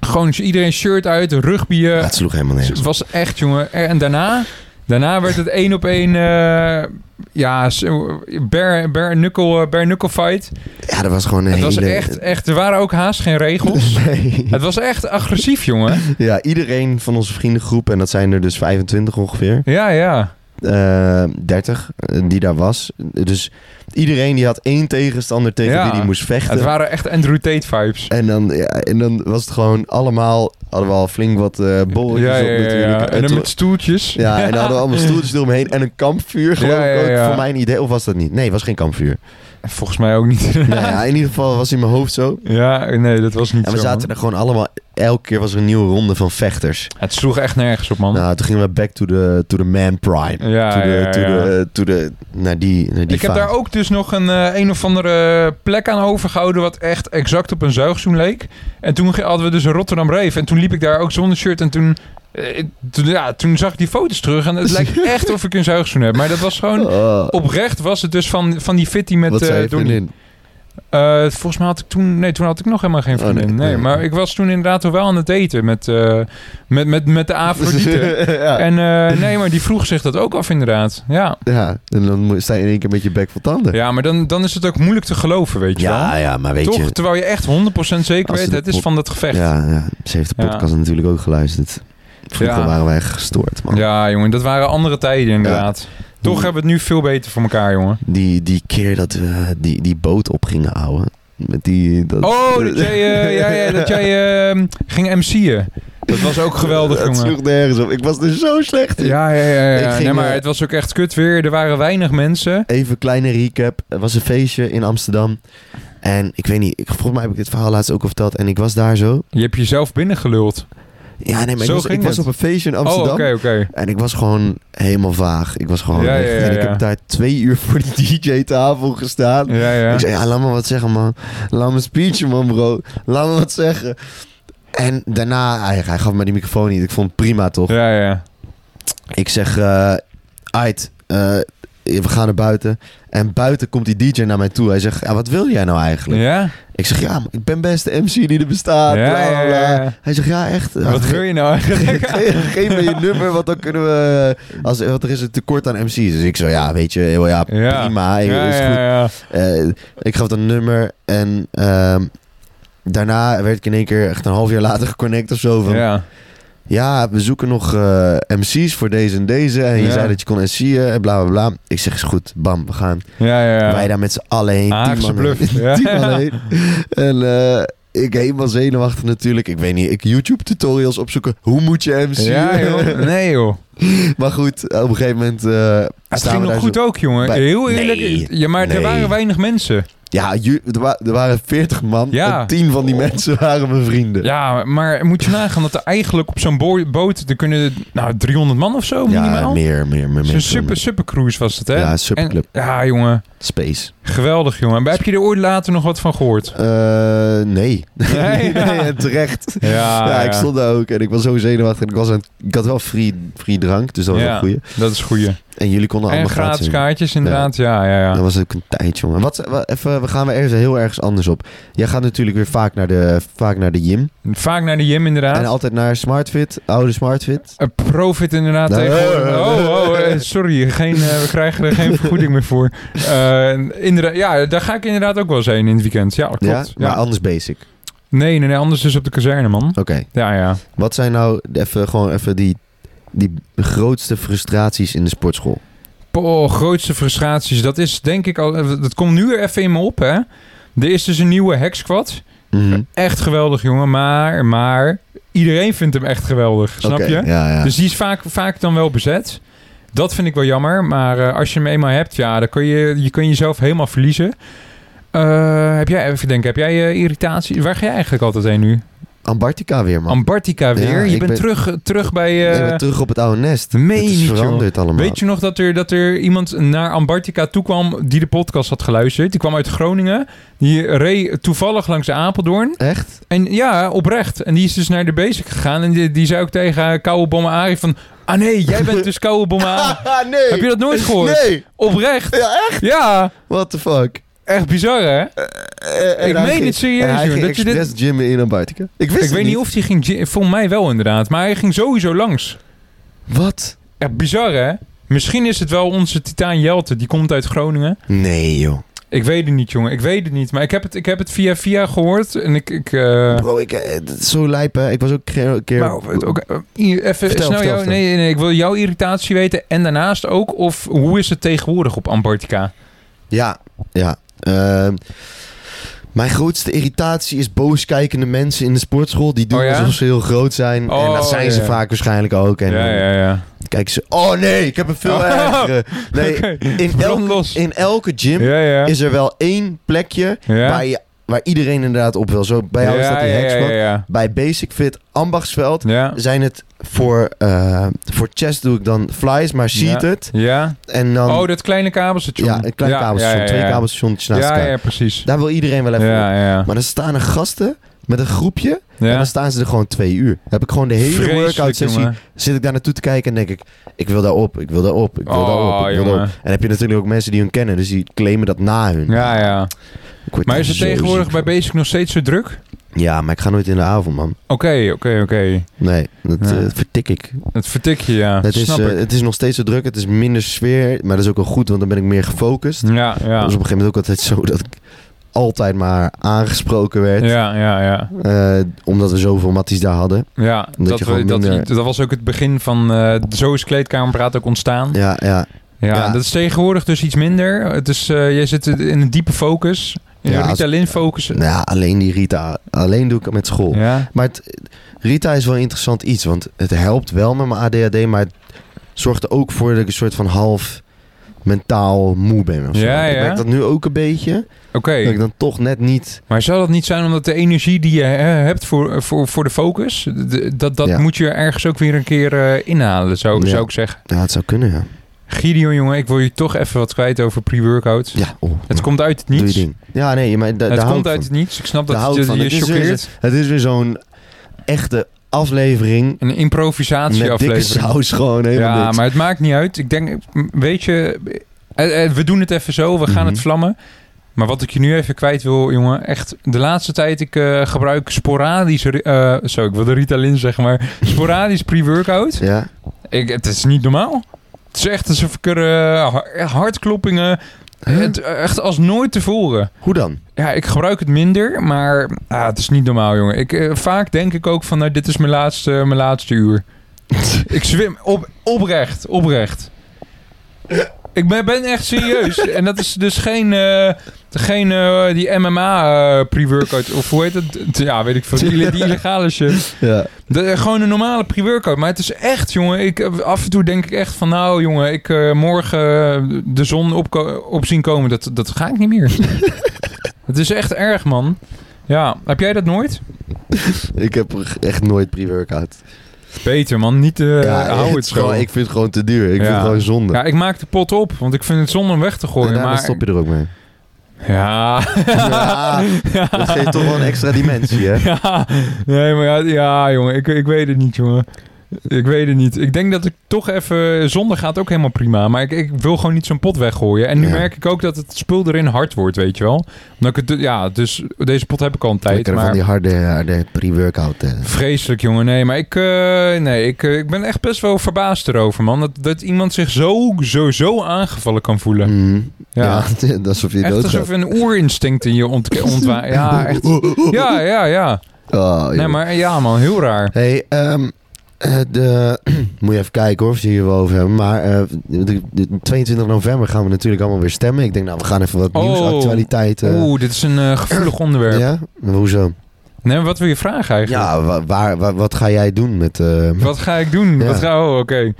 Speaker 2: Gewoon iedereen shirt uit, rugby. eh,
Speaker 1: het sloeg helemaal
Speaker 2: het
Speaker 1: nergens. op.
Speaker 2: was echt, jongen. En daarna... Daarna werd het één op één... eh ja, zo- bare, bare, knuckle, eh, bare knuckle fight.
Speaker 1: Ja, dat was gewoon een
Speaker 2: Het was
Speaker 1: hele...
Speaker 2: echt, echt... Er waren ook haast geen regels.
Speaker 1: Nee.
Speaker 2: Het was echt agressief, jongen.
Speaker 1: Ja, iedereen van onze vriendengroep, en dat zijn er dus 25 ongeveer,
Speaker 2: Ja, ja.
Speaker 1: eh, 30, eh, die daar was. Dus iedereen die had één tegenstander tegen
Speaker 2: Ja.
Speaker 1: wie die moest vechten.
Speaker 2: Het waren echt Andrew Tate vibes.
Speaker 1: En dan, ja, en dan was het gewoon allemaal, hadden we al flink wat eh borreltjes
Speaker 2: ja, ja,
Speaker 1: op
Speaker 2: ja,
Speaker 1: natuurlijk.
Speaker 2: ja. En
Speaker 1: Het
Speaker 2: dan
Speaker 1: wa-
Speaker 2: met stoeltjes.
Speaker 1: ja, en dan hadden we allemaal stoeltjes eromheen en een kampvuur geloof
Speaker 2: Ja,
Speaker 1: ik
Speaker 2: ja,
Speaker 1: ook,
Speaker 2: ja.
Speaker 1: voor mijn idee. Of was dat niet? Nee, het was geen kampvuur.
Speaker 2: Volgens mij ook niet.
Speaker 1: nou ja, in ieder geval was in mijn hoofd zo.
Speaker 2: ja, nee, dat was niet
Speaker 1: En we
Speaker 2: zo.
Speaker 1: zaten
Speaker 2: man.
Speaker 1: er gewoon allemaal, elke keer was er een nieuwe ronde van vechters.
Speaker 2: Het sloeg echt nergens op, man.
Speaker 1: Nou, toen gingen we back to the, to the man prime.
Speaker 2: ja,
Speaker 1: to the,
Speaker 2: Ah, ja,
Speaker 1: to
Speaker 2: ja.
Speaker 1: the- to the- naar die, naar die
Speaker 2: Ik heb
Speaker 1: fase.
Speaker 2: daar ook dus nog een, eh, een of andere plek aan overgehouden... wat echt exact op een zuigzoen leek. En toen ge- hadden we dus een Rotterdam Reef. En toen liep ik daar ook zonder shirt. En toen, eh, toen, ja, toen zag ik die foto's terug. En het lijkt echt of ik een zuigzoen heb. Maar dat was gewoon...
Speaker 1: Oh,
Speaker 2: Oprecht was het dus van, van die fitty met...
Speaker 1: wat
Speaker 2: eh,
Speaker 1: zei je
Speaker 2: Donnie.
Speaker 1: vriendin?
Speaker 2: Eh, volgens mij had ik toen... Nee, toen had ik nog helemaal geen
Speaker 1: Oh,
Speaker 2: vriendin.
Speaker 1: nee.
Speaker 2: nee, maar ik was toen inderdaad wel aan het eten met, eh, met, met, met de Afrodite.
Speaker 1: ja. En,
Speaker 2: en eh, nee, maar die vroeg zich dat ook af inderdaad. Ja,
Speaker 1: ja, en dan moet- sta je in één keer met je bek vol tanden.
Speaker 2: ja maar dan, dan is het ook moeilijk te geloven, weet je wel.
Speaker 1: ja, ja, maar weet
Speaker 2: Toch?
Speaker 1: je...
Speaker 2: Terwijl je echt 100% zeker
Speaker 1: Als
Speaker 2: weet,
Speaker 1: de
Speaker 2: het is
Speaker 1: pop-
Speaker 2: van dat gevecht. Ja.
Speaker 1: Ja, ja, ze heeft de
Speaker 2: Ja.
Speaker 1: podcast natuurlijk ook geluisterd. Vroeger
Speaker 2: Ja.
Speaker 1: waren wij gestoord, man.
Speaker 2: jongen, dat waren andere tijden inderdaad. Toch hebben we het nu veel beter voor elkaar, jongen.
Speaker 1: Die, die keer dat we die, die boot opgingen, ouwe. Met die... Dat,
Speaker 2: Oh, dat jij, eh, ja, ja, dat jij eh, ging MC'en. Dat was ook geweldig,
Speaker 1: Het
Speaker 2: jongen.
Speaker 1: sloeg nergens op. Ik was er zo slecht in.
Speaker 2: Ja, ja, ja.
Speaker 1: Ik
Speaker 2: ja.
Speaker 1: ging,
Speaker 2: nee, maar
Speaker 1: eh,
Speaker 2: het was ook echt kut weer. Er waren weinig mensen.
Speaker 1: Even een kleine recap. Er was een feestje in Amsterdam. En ik weet niet, ik, volgens mij heb ik dit verhaal laatst ook al verteld. En ik was daar zo.
Speaker 2: Je hebt jezelf binnengeluld.
Speaker 1: Ja, nee, maar
Speaker 2: Zo
Speaker 1: ik was,
Speaker 2: ging
Speaker 1: ik was
Speaker 2: het.
Speaker 1: op een feestje in
Speaker 2: Oh,
Speaker 1: Amsterdam.
Speaker 2: oké, oké.
Speaker 1: En ik was gewoon helemaal vaag. Ik was gewoon...
Speaker 2: Ja, ja,
Speaker 1: echt-
Speaker 2: ja,
Speaker 1: en ik
Speaker 2: ja.
Speaker 1: heb daar twee uur voor die DJ-tafel gestaan.
Speaker 2: Ja, ja.
Speaker 1: Ik zei, ja, laat me wat zeggen, man. Laat me speechen, man, bro. Laat me wat zeggen. En daarna, hij, hij gaf me die microfoon niet. Ik vond het prima, toch?
Speaker 2: Ja, ja.
Speaker 1: Ik zeg, eh uit, eh, we gaan naar buiten. En buiten komt die DJ naar mij toe. Hij zegt, ja, wat wil jij nou eigenlijk?
Speaker 2: Ja?
Speaker 1: Ik zeg, ja, maar ik ben best de MC die er bestaat.
Speaker 2: Ja,
Speaker 1: Ah, bla, bla,
Speaker 2: ja,
Speaker 1: bla.
Speaker 2: ja, ja.
Speaker 1: Hij zegt, ja, echt. Ja,
Speaker 2: Wat
Speaker 1: ge-
Speaker 2: wil je nou
Speaker 1: ge-
Speaker 2: eigenlijk?
Speaker 1: ge- Geef me je nummer, want dan kunnen we... eh, Als, want er is een tekort aan MC's. Dus ik zo, ja, weet je, heel, ja,
Speaker 2: Ja.
Speaker 1: prima.
Speaker 2: Ja,
Speaker 1: is
Speaker 2: ja,
Speaker 1: goed.
Speaker 2: ja.
Speaker 1: Eh, ik gaf een nummer en ehm, daarna werd ik in één keer echt een half jaar later geconnect of zo. Van, ja.
Speaker 2: Ja,
Speaker 1: we zoeken nog eh, MC's voor deze en deze. En je
Speaker 2: Ja.
Speaker 1: zei dat je kon MC'en en bla bla bla. Ik zeg, is goed, bam, we gaan.
Speaker 2: ja, ja.
Speaker 1: Wij
Speaker 2: ja.
Speaker 1: daar met z'n allen heen.
Speaker 2: Haagse
Speaker 1: tien man
Speaker 2: bluff.
Speaker 1: heen,
Speaker 2: Ja.
Speaker 1: tien man heen. En eh, ik helemaal zenuwachtig natuurlijk. Ik weet niet, ik YouTube tutorials opzoeken. Hoe moet je MC'en?
Speaker 2: Ja, joh. Nee, joh.
Speaker 1: maar goed, op een gegeven moment... eh,
Speaker 2: Het
Speaker 1: staan
Speaker 2: ging
Speaker 1: we
Speaker 2: nog
Speaker 1: daar
Speaker 2: goed
Speaker 1: zo-
Speaker 2: ook, jongen.
Speaker 1: bij-
Speaker 2: Heel eerlijk.
Speaker 1: Nee.
Speaker 2: Ja, maar
Speaker 1: Nee.
Speaker 2: er waren weinig mensen.
Speaker 1: Ja, ju- er, wa- er waren veertig man.
Speaker 2: Ja. Oh.
Speaker 1: En tien van die mensen waren mijn vrienden.
Speaker 2: Ja, maar moet je nagaan dat er eigenlijk op zo'n boor- boot... Er kunnen, nou, 300 man of zo
Speaker 1: Ja,
Speaker 2: minimaal.
Speaker 1: meer, meer, meer.
Speaker 2: Zo'n
Speaker 1: meer.
Speaker 2: super, supercruise was het, hè?
Speaker 1: Ja, superclub.
Speaker 2: En- ja, jongen.
Speaker 1: Space.
Speaker 2: Geweldig, jongen. Maar Heb je er ooit later nog wat van gehoord?
Speaker 1: Eh, nee.
Speaker 2: Nee?
Speaker 1: en terecht.
Speaker 2: Ja,
Speaker 1: Ja,
Speaker 2: ja.
Speaker 1: ik stond daar ook en ik was zo zenuwachtig. en Ik, was aan, het- ik had wel free, free drank, dus dat was
Speaker 2: Ja.
Speaker 1: een goeie.
Speaker 2: Dat is goeie.
Speaker 1: En jullie konden
Speaker 2: en
Speaker 1: Nou, allemaal
Speaker 2: gratis
Speaker 1: gaan.
Speaker 2: kaartjes, inderdaad. Ja, ja, ja.
Speaker 1: Dat was ook een tijd, jongen. Wat, wat, even, we gaan weer ergens heel ergens anders op. Jij gaat natuurlijk weer vaak naar de, vaak naar de gym.
Speaker 2: Vaak naar de gym,
Speaker 1: En
Speaker 2: inderdaad.
Speaker 1: altijd naar Smartfit, oude Smartfit.
Speaker 2: Een profit, inderdaad.
Speaker 1: Nee.
Speaker 2: Tegen... Oh, oh, eh, sorry. Geen, eh, we krijgen er geen vergoeding meer voor. Eh, inderdaad, ja, daar ga ik inderdaad ook wel eens heen in het weekend. Ja, klopt.
Speaker 1: Ja?
Speaker 2: Ja,
Speaker 1: Maar anders basic. Oké.
Speaker 2: Nee, nee, nee. Anders dus op de kazerne, man. Ja, ja.
Speaker 1: Wat zijn nou even, gewoon even die, die grootste frustraties in de sportschool?
Speaker 2: Poh, grootste frustraties. Dat is denk ik al... Dat komt nu er even in me op, hè. Er is dus een nieuwe hekskwat.
Speaker 1: Mhm.
Speaker 2: Echt geweldig, jongen. Maar, maar iedereen vindt hem echt geweldig. Snap
Speaker 1: Oké,
Speaker 2: je?
Speaker 1: Ja, ja.
Speaker 2: Dus die is vaak, vaak dan wel bezet. Dat vind ik wel jammer. Maar eh, als je hem eenmaal hebt, ja, dan kun je, je kun jezelf helemaal verliezen. Eh, heb jij, even denken, heb jij eh, irritatie? Waar ga jij eigenlijk altijd heen nu?
Speaker 1: Antarctica weer, man.
Speaker 2: Antarctica weer.
Speaker 1: Ja,
Speaker 2: je
Speaker 1: ik
Speaker 2: bent
Speaker 1: ben-
Speaker 2: terug, terug bij...
Speaker 1: Ik
Speaker 2: eh,
Speaker 1: ben terug op het oude nest.
Speaker 2: meen
Speaker 1: het is
Speaker 2: je niet, joh.
Speaker 1: veranderd allemaal.
Speaker 2: Weet je nog dat er, dat er iemand naar Antarctica toe kwam die de podcast had geluisterd? Die kwam uit Groningen. Die reed toevallig langs Apeldoorn.
Speaker 1: Echt?
Speaker 2: En ja, oprecht. En die is dus naar de basic gegaan. En die, die zei ook tegen haar Koude Bommen Arie van... Ah nee, jij bent dus Koude Bommen Arie.
Speaker 1: Ah, nee.
Speaker 2: Heb je dat nooit gehoord?
Speaker 1: Nee.
Speaker 2: Oprecht.
Speaker 1: Ja, echt?
Speaker 2: Ja,
Speaker 1: What the fuck?
Speaker 2: echt bizar hè?
Speaker 1: Eh, en
Speaker 2: Ik
Speaker 1: hij
Speaker 2: meen
Speaker 1: ging-
Speaker 2: het serieus,
Speaker 1: en Hij
Speaker 2: joh,
Speaker 1: ging
Speaker 2: dat je dit-
Speaker 1: expres gymmen in Antarctica. Ik wist
Speaker 2: Ik
Speaker 1: het
Speaker 2: weet niet of hij ging... gi- Volgens mij wel inderdaad. Maar hij ging sowieso langs.
Speaker 1: Wat?
Speaker 2: Echt bizar hè? Misschien is het wel onze titaan Jelte. Die komt uit Groningen.
Speaker 1: Nee, joh.
Speaker 2: Ik weet het niet, jongen. Ik weet het niet. Maar ik heb het, ik heb het via via gehoord. En ik... ik eh,
Speaker 1: Bro, ik, eh, dat is zo lijp, hè. Ik was ook een keer...
Speaker 2: maar het ook, eh, hier, even
Speaker 1: Vertel,
Speaker 2: snel
Speaker 1: vertel,
Speaker 2: jou,
Speaker 1: vertel.
Speaker 2: nee, nee, ik wil jouw irritatie weten. En daarnaast ook, of hoe is het tegenwoordig op Antarctica?
Speaker 1: Ja, ja. Ehm, mijn grootste irritatie is booskijkende mensen in de sportschool. Die doen
Speaker 2: Oh ja?
Speaker 1: alsof ze heel groot zijn. en
Speaker 2: Oh,
Speaker 1: dat zijn ze
Speaker 2: ja.
Speaker 1: vaak waarschijnlijk ook. En
Speaker 2: ja, ja, ja.
Speaker 1: dan kijken ze... Oh nee, ik heb een veel
Speaker 2: Oh.
Speaker 1: ergere. Nee,
Speaker 2: Oké.
Speaker 1: in,
Speaker 2: Brand
Speaker 1: elke,
Speaker 2: los.
Speaker 1: in elke gym
Speaker 2: Ja, ja.
Speaker 1: is er wel één plekje
Speaker 2: ja.
Speaker 1: waar, je, waar iedereen inderdaad op wil. Zo bij jou is dat die
Speaker 2: ja, ja,
Speaker 1: hekspad.
Speaker 2: ja, ja.
Speaker 1: Bij Basic Fit Ambachtsveld
Speaker 2: Ja,
Speaker 1: zijn het voor, eh, voor chest doe ik dan flies, maar
Speaker 2: Ja.
Speaker 1: seated.
Speaker 2: ja.
Speaker 1: En Dus dan
Speaker 2: oh, dat kleine kabelstation.
Speaker 1: ja, een klein kabelstation, twee kabelstations naast
Speaker 2: Ja,
Speaker 1: elkaar.
Speaker 2: ja, precies.
Speaker 1: Daar wil iedereen wel even op.
Speaker 2: Ja, ja.
Speaker 1: Maar dan staan er gasten met een groepje en
Speaker 2: ja.
Speaker 1: dan staan ze er gewoon twee uur. Dan heb ik gewoon de hele
Speaker 2: Vreselijk,
Speaker 1: workout sessie,
Speaker 2: jongen.
Speaker 1: zit ik daar naartoe te kijken en denk ik, ik wil daar op, ik wil daar op, ik wil daar
Speaker 2: Oh,
Speaker 1: op, ik wil daar op.
Speaker 2: jongen.
Speaker 1: En dan heb je natuurlijk ook mensen die hun kennen, dus die claimen dat na hun.
Speaker 2: Ja, ja.
Speaker 1: Ik word
Speaker 2: Maar
Speaker 1: daar
Speaker 2: is het
Speaker 1: zo
Speaker 2: tegenwoordig
Speaker 1: ziek
Speaker 2: bij
Speaker 1: van.
Speaker 2: Basic nog steeds zo druk? Oké,
Speaker 1: Ja, maar ik ga nooit in de avond, man.
Speaker 2: oké, oké.
Speaker 1: Nee, dat
Speaker 2: Ja.
Speaker 1: eh, vertik ik.
Speaker 2: Het vertik je, ja.
Speaker 1: Het is,
Speaker 2: Snap
Speaker 1: eh,
Speaker 2: ik.
Speaker 1: het is nog steeds zo druk, het is minder sfeer, maar dat is ook wel goed, want dan ben ik meer gefocust.
Speaker 2: Ja, ja.
Speaker 1: eh, Dat was op een gegeven moment ook altijd zo dat ik altijd maar aangesproken werd.
Speaker 2: Ja, ja, ja.
Speaker 1: eh, omdat we zoveel matties daar hadden.
Speaker 2: ja
Speaker 1: je
Speaker 2: dat,
Speaker 1: gewoon
Speaker 2: we, dat,
Speaker 1: minder-
Speaker 2: dat was ook het begin van... eh zo is kleedkamerpraat ook ontstaan. Ja,
Speaker 1: Ja, ja. ja.
Speaker 2: dat is tegenwoordig dus iets minder. Het is, eh, jij zit in een diepe focus. In
Speaker 1: Ja,
Speaker 2: een
Speaker 1: als-
Speaker 2: Ritalin focus.
Speaker 1: Nou ja, alleen die Rita. Alleen doe ik het met school.
Speaker 2: Ja,
Speaker 1: Maar het, Rita is wel een interessant iets. Want het helpt wel met mijn ADHD. Maar het zorgt er ook voor dat ik een soort van half mentaal moe ben. Of zo.
Speaker 2: Ja,
Speaker 1: Ik
Speaker 2: ja.
Speaker 1: merk dat nu ook een beetje.
Speaker 2: oké.
Speaker 1: Dat ik dan toch net niet...
Speaker 2: Maar zou dat niet zijn omdat de energie die je hè, hebt voor, eh, voor, voor de focus... d- dat, dat
Speaker 1: Ja.
Speaker 2: moet je ergens ook weer een keer eh, inhalen, zou,
Speaker 1: Ja.
Speaker 2: zou ik zeggen.
Speaker 1: Ja, het zou kunnen, ja.
Speaker 2: Gideon, jongen, ik wil je toch even wat kwijt over pre-workout.
Speaker 1: Ja, oh,
Speaker 2: Het komt uit het
Speaker 1: doe je
Speaker 2: niets.
Speaker 1: ding. Ja, nee, maar da,
Speaker 2: het
Speaker 1: daar hou ik
Speaker 2: komt
Speaker 1: van.
Speaker 2: uit het niets. Ik snap
Speaker 1: Daar
Speaker 2: dat
Speaker 1: hou ik
Speaker 2: het
Speaker 1: van.
Speaker 2: je
Speaker 1: Het is weer
Speaker 2: choqueert.
Speaker 1: Het is weer zo'n echte aflevering...
Speaker 2: Een
Speaker 1: Met dikke
Speaker 2: improvisatieaflevering.
Speaker 1: saus gewoon helemaal
Speaker 2: Ja,
Speaker 1: niks.
Speaker 2: maar het maakt niet uit. Ik denk, m- weet je, eh, eh, we doen het even zo. We gaan
Speaker 1: Mhm.
Speaker 2: het vlammen. Maar wat ik je nu even kwijt wil, jongen, echt de laatste tijd, ik eh, gebruik sporadisch, ri- eh, zo, ik wilde Ritalin zeggen, maar sporadisch pre-workout.
Speaker 1: Ja,
Speaker 2: Ik, het is niet normaal. Het is echt alsof ik er eh, ha- hartkloppingen, het, eh, echt als nooit tevoren.
Speaker 1: hoe dan?
Speaker 2: Ja, ik gebruik het minder, maar ah, het is niet normaal, jongen. Ik, eh, vaak denk ik ook van, nou, dit is mijn laatste, mijn laatste uur. ik zwem op, oprecht, oprecht. Ik ben, ben echt serieus. en dat is dus geen, eh, geen eh, die MMA eh, pre-workout. Of hoe heet het? Ja, weet ik veel. Die, die illegale shit.
Speaker 1: Ja.
Speaker 2: De, eh, gewoon een normale pre-workout. Maar het is echt, jongen. Ik, eh, af en toe denk ik echt van... Nou, jongen, ik eh, morgen eh, de zon op, op zien komen. Dat, dat ga ik niet meer. het is echt erg, man. Ja, heb jij dat nooit?
Speaker 1: Ik heb echt nooit pre-workout.
Speaker 2: Beter, man. Niet eh
Speaker 1: Ja,
Speaker 2: hou het
Speaker 1: is
Speaker 2: zo.
Speaker 1: gewoon- Ik vind het gewoon te duur. Ik vind
Speaker 2: Ja.
Speaker 1: het gewoon zonde.
Speaker 2: Ja, ik maak de pot op. Want ik vind het zonde om weg te
Speaker 1: en
Speaker 2: gooien.
Speaker 1: daarna
Speaker 2: maar...
Speaker 1: stop je er ook mee.
Speaker 2: Ja.
Speaker 1: Ja, dat geeft toch wel een extra dimensie, hè?
Speaker 2: Ja, nee, maar ja, ja jongen, ik, ik weet het niet, jongen. Ik weet het niet. Ik denk dat ik toch even... Zonder gaat ook helemaal prima. Maar ik, ik wil gewoon niet zo'n pot weggooien. En nu
Speaker 1: Ja.
Speaker 2: merk ik ook dat het spul erin hard wordt, weet je wel. Omdat ik het, ja, dus deze pot heb ik al een tijd.
Speaker 1: Lekker van
Speaker 2: Maar
Speaker 1: die harde, harde pre-workout. eh.
Speaker 2: vreselijk, jongen. Nee, maar ik, eh, nee, ik, eh, ik ben echt best wel verbaasd erover, man. Dat, dat iemand zich zo, zo, zo aangevallen kan voelen.
Speaker 1: Mhm.
Speaker 2: Ja.
Speaker 1: Ja, alsof je
Speaker 2: Echt
Speaker 1: dood
Speaker 2: alsof een oerinstinct in je ontk- ontwa... Ja, echt. Ja, ja, ja.
Speaker 1: Oh,
Speaker 2: Nee,
Speaker 1: joh.
Speaker 2: maar ja, man. Heel raar.
Speaker 1: Hey, ehm, eh, de... moet je even kijken hoor, of je hier wel over hebben. Maar eh, de- de 22 november gaan we natuurlijk allemaal weer stemmen. Ik denk, nou, we gaan even wat
Speaker 2: Oh.
Speaker 1: nieuwsactualiteiten...
Speaker 2: Oeh, dit is een eh, gevoelig onderwerp.
Speaker 1: ja? Hoezo?
Speaker 2: Nee, maar wat wil je vragen eigenlijk?
Speaker 1: Ja, wa- waar, wa- wat ga jij doen met... eh,
Speaker 2: Wat ga ik doen?
Speaker 1: Ja.
Speaker 2: Wat ga... Oh, oké.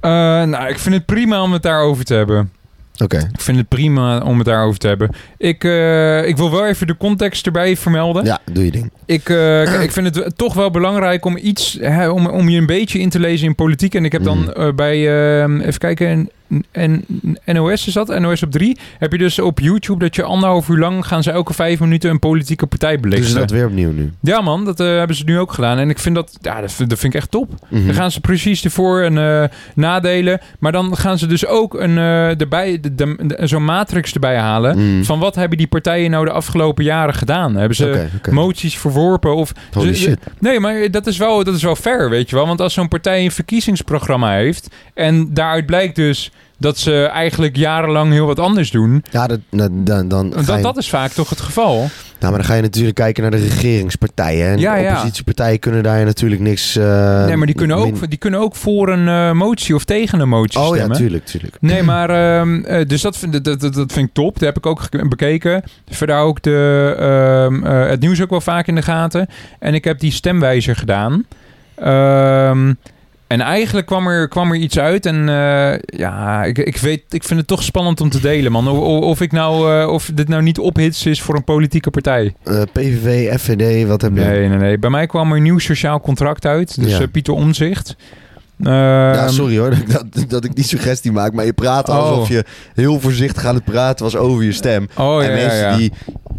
Speaker 2: Eh, nou, ik vind het prima om het daarover te hebben.
Speaker 1: Oké.
Speaker 2: Ik vind het prima om het daarover te hebben. Ik, eh, ik wil wel even de context erbij vermelden.
Speaker 1: Ja, doe je ding.
Speaker 2: Ik, eh, kijk, ik vind het toch wel belangrijk om iets, hè, om, om je een beetje in te lezen in politiek. En ik heb dan
Speaker 1: Mm.
Speaker 2: eh, bij, ehm, even kijken, en, en, NOS is dat, NOS op 3. Heb je dus op YouTube dat je anderhalf uur lang gaan ze elke vijf minuten een politieke partij
Speaker 1: Dus
Speaker 2: belichten.
Speaker 1: dat weer opnieuw nu.
Speaker 2: Ja man, dat eh, hebben ze nu ook gedaan. En ik vind dat, ja, dat vind, dat vind ik echt top.
Speaker 1: Mhm.
Speaker 2: Dan gaan ze precies de voor- en eh, nadelen. Maar dan gaan ze dus ook een, eh, erbij, de, de, de- zo'n matrix erbij halen.
Speaker 1: Mm.
Speaker 2: Van dus, wat hebben die partijen nou de afgelopen jaren gedaan? Hebben ze
Speaker 1: Oké, oké.
Speaker 2: moties verworpen? Of,
Speaker 1: Holy
Speaker 2: ze-
Speaker 1: shit.
Speaker 2: Nee, maar dat is, wel, dat is wel fair, weet je wel. Want als zo'n partij een verkiezingsprogramma heeft... en daaruit blijkt dus dat ze eigenlijk jarenlang heel wat anders doen...
Speaker 1: Ja, dat, dat- dan, dan ga
Speaker 2: dat,
Speaker 1: je,
Speaker 2: dat is vaak toch het geval.
Speaker 1: Nou, maar dan ga je natuurlijk kijken naar de regeringspartijen. En
Speaker 2: Ja,
Speaker 1: de
Speaker 2: ja.
Speaker 1: oppositiepartijen kunnen daar natuurlijk niks... eh,
Speaker 2: nee, maar die kunnen,
Speaker 1: min-
Speaker 2: ook, die kunnen ook voor een eh, motie of tegen een motie
Speaker 1: Oh ja,
Speaker 2: stemmen.
Speaker 1: tuurlijk, tuurlijk.
Speaker 2: Nee, maar ehm, eh, dus dat vind, dat, dat, dat vind ik top. Dat heb ik ook gek- bekeken. Verder hou ik de, ehm, eh, het nieuws ook wel vaak in de gaten. En ik heb die stemwijzer gedaan. Ehm, en eigenlijk kwam er, kwam er iets uit. En eh, ja, ik, ik, weet, ik vind het toch spannend om te delen, man. O- o- Of, ik nou, eh, of dit nou niet ophits is voor een politieke partij.
Speaker 1: Eh, PVV, FVD, wat heb je?
Speaker 2: Nee, nee, nee. Bij mij kwam er nieuw sociaal contract uit. Dus
Speaker 1: Ja.
Speaker 2: eh, Pieter Omzicht.
Speaker 1: Ja, sorry hoor dat, ik dat, dat ik die suggestie maak. Maar je praat
Speaker 2: ehm, Oh.
Speaker 1: alsof je heel voorzichtig aan het praten was over je stem.
Speaker 2: Oh, ja,
Speaker 1: en mensen
Speaker 2: ja, ja.
Speaker 1: die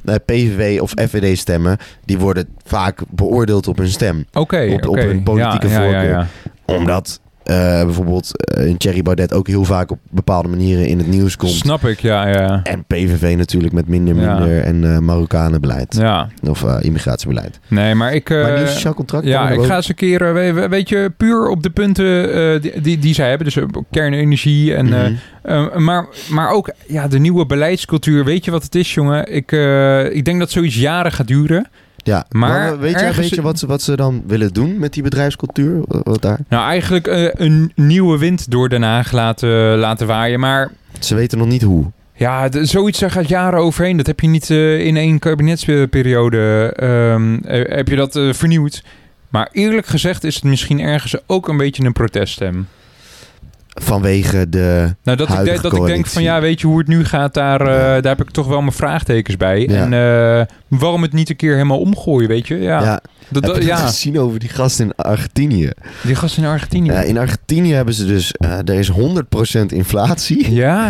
Speaker 1: eh, PVV of FVD stemmen, die worden vaak beoordeeld op hun stem.
Speaker 2: Oké,
Speaker 1: op- op
Speaker 2: oké.
Speaker 1: hun politieke voorkeur. Omdat eh, bijvoorbeeld eh, een Thierry Baudet ook heel vaak op bepaalde manieren in het nieuws komt.
Speaker 2: Snap ik, ja, ja.
Speaker 1: En PVV natuurlijk met minder,
Speaker 2: Ja.
Speaker 1: minder en eh Marokkanenbeleid.
Speaker 2: Ja,
Speaker 1: Of eh, immigratiebeleid.
Speaker 2: nee, maar ik... eh,
Speaker 1: maar nieuw sociaal contract?
Speaker 2: ja,
Speaker 1: kan er
Speaker 2: ik
Speaker 1: ook-
Speaker 2: ga eens een keer, eh, we- we- weet je, puur op de punten eh, die, die, die zij hebben. Dus eh, kernenergie en... eh,
Speaker 1: Mhm.
Speaker 2: eh, maar, maar ook ja, de nieuwe beleidscultuur. Weet je wat het is, jongen? Ik, eh, ik denk dat zoiets jaren gaat duren.
Speaker 1: Ja,
Speaker 2: maar
Speaker 1: maar weet jij een
Speaker 2: ergens-
Speaker 1: beetje wat ze, wat ze dan willen doen met die bedrijfscultuur? Wat wat daar?
Speaker 2: Nou, eigenlijk eh, een nieuwe wind door Den Haag laten, laten waaien. Maar
Speaker 1: Ze weten nog niet hoe.
Speaker 2: Ja, d- zoiets daar gaat jaren overheen. Dat heb je niet eh, in één kabinetsperiode ehm, eh, heb je dat eh, vernieuwd. Maar eerlijk gezegd is het misschien ergens ook een beetje een proteststem.
Speaker 1: Vanwege de...
Speaker 2: Nou, dat, ik,
Speaker 1: Huidige
Speaker 2: de- dat ik denk
Speaker 1: coalitie.
Speaker 2: van ja, weet je hoe het nu gaat, daar, eh,
Speaker 1: Ja.
Speaker 2: daar heb ik toch wel mijn vraagtekens bij.
Speaker 1: Ja.
Speaker 2: En eh, waarom het niet een keer helemaal omgooien, weet je? Ja,
Speaker 1: Ja,
Speaker 2: dat,
Speaker 1: heb
Speaker 2: dat-
Speaker 1: je dat
Speaker 2: ja.
Speaker 1: gezien over die gast in Argentinië?
Speaker 2: die gast in Argentinië.
Speaker 1: Ja,
Speaker 2: Ja,
Speaker 1: in Argentinië hebben ze dus... eh, er is 100% inflatie.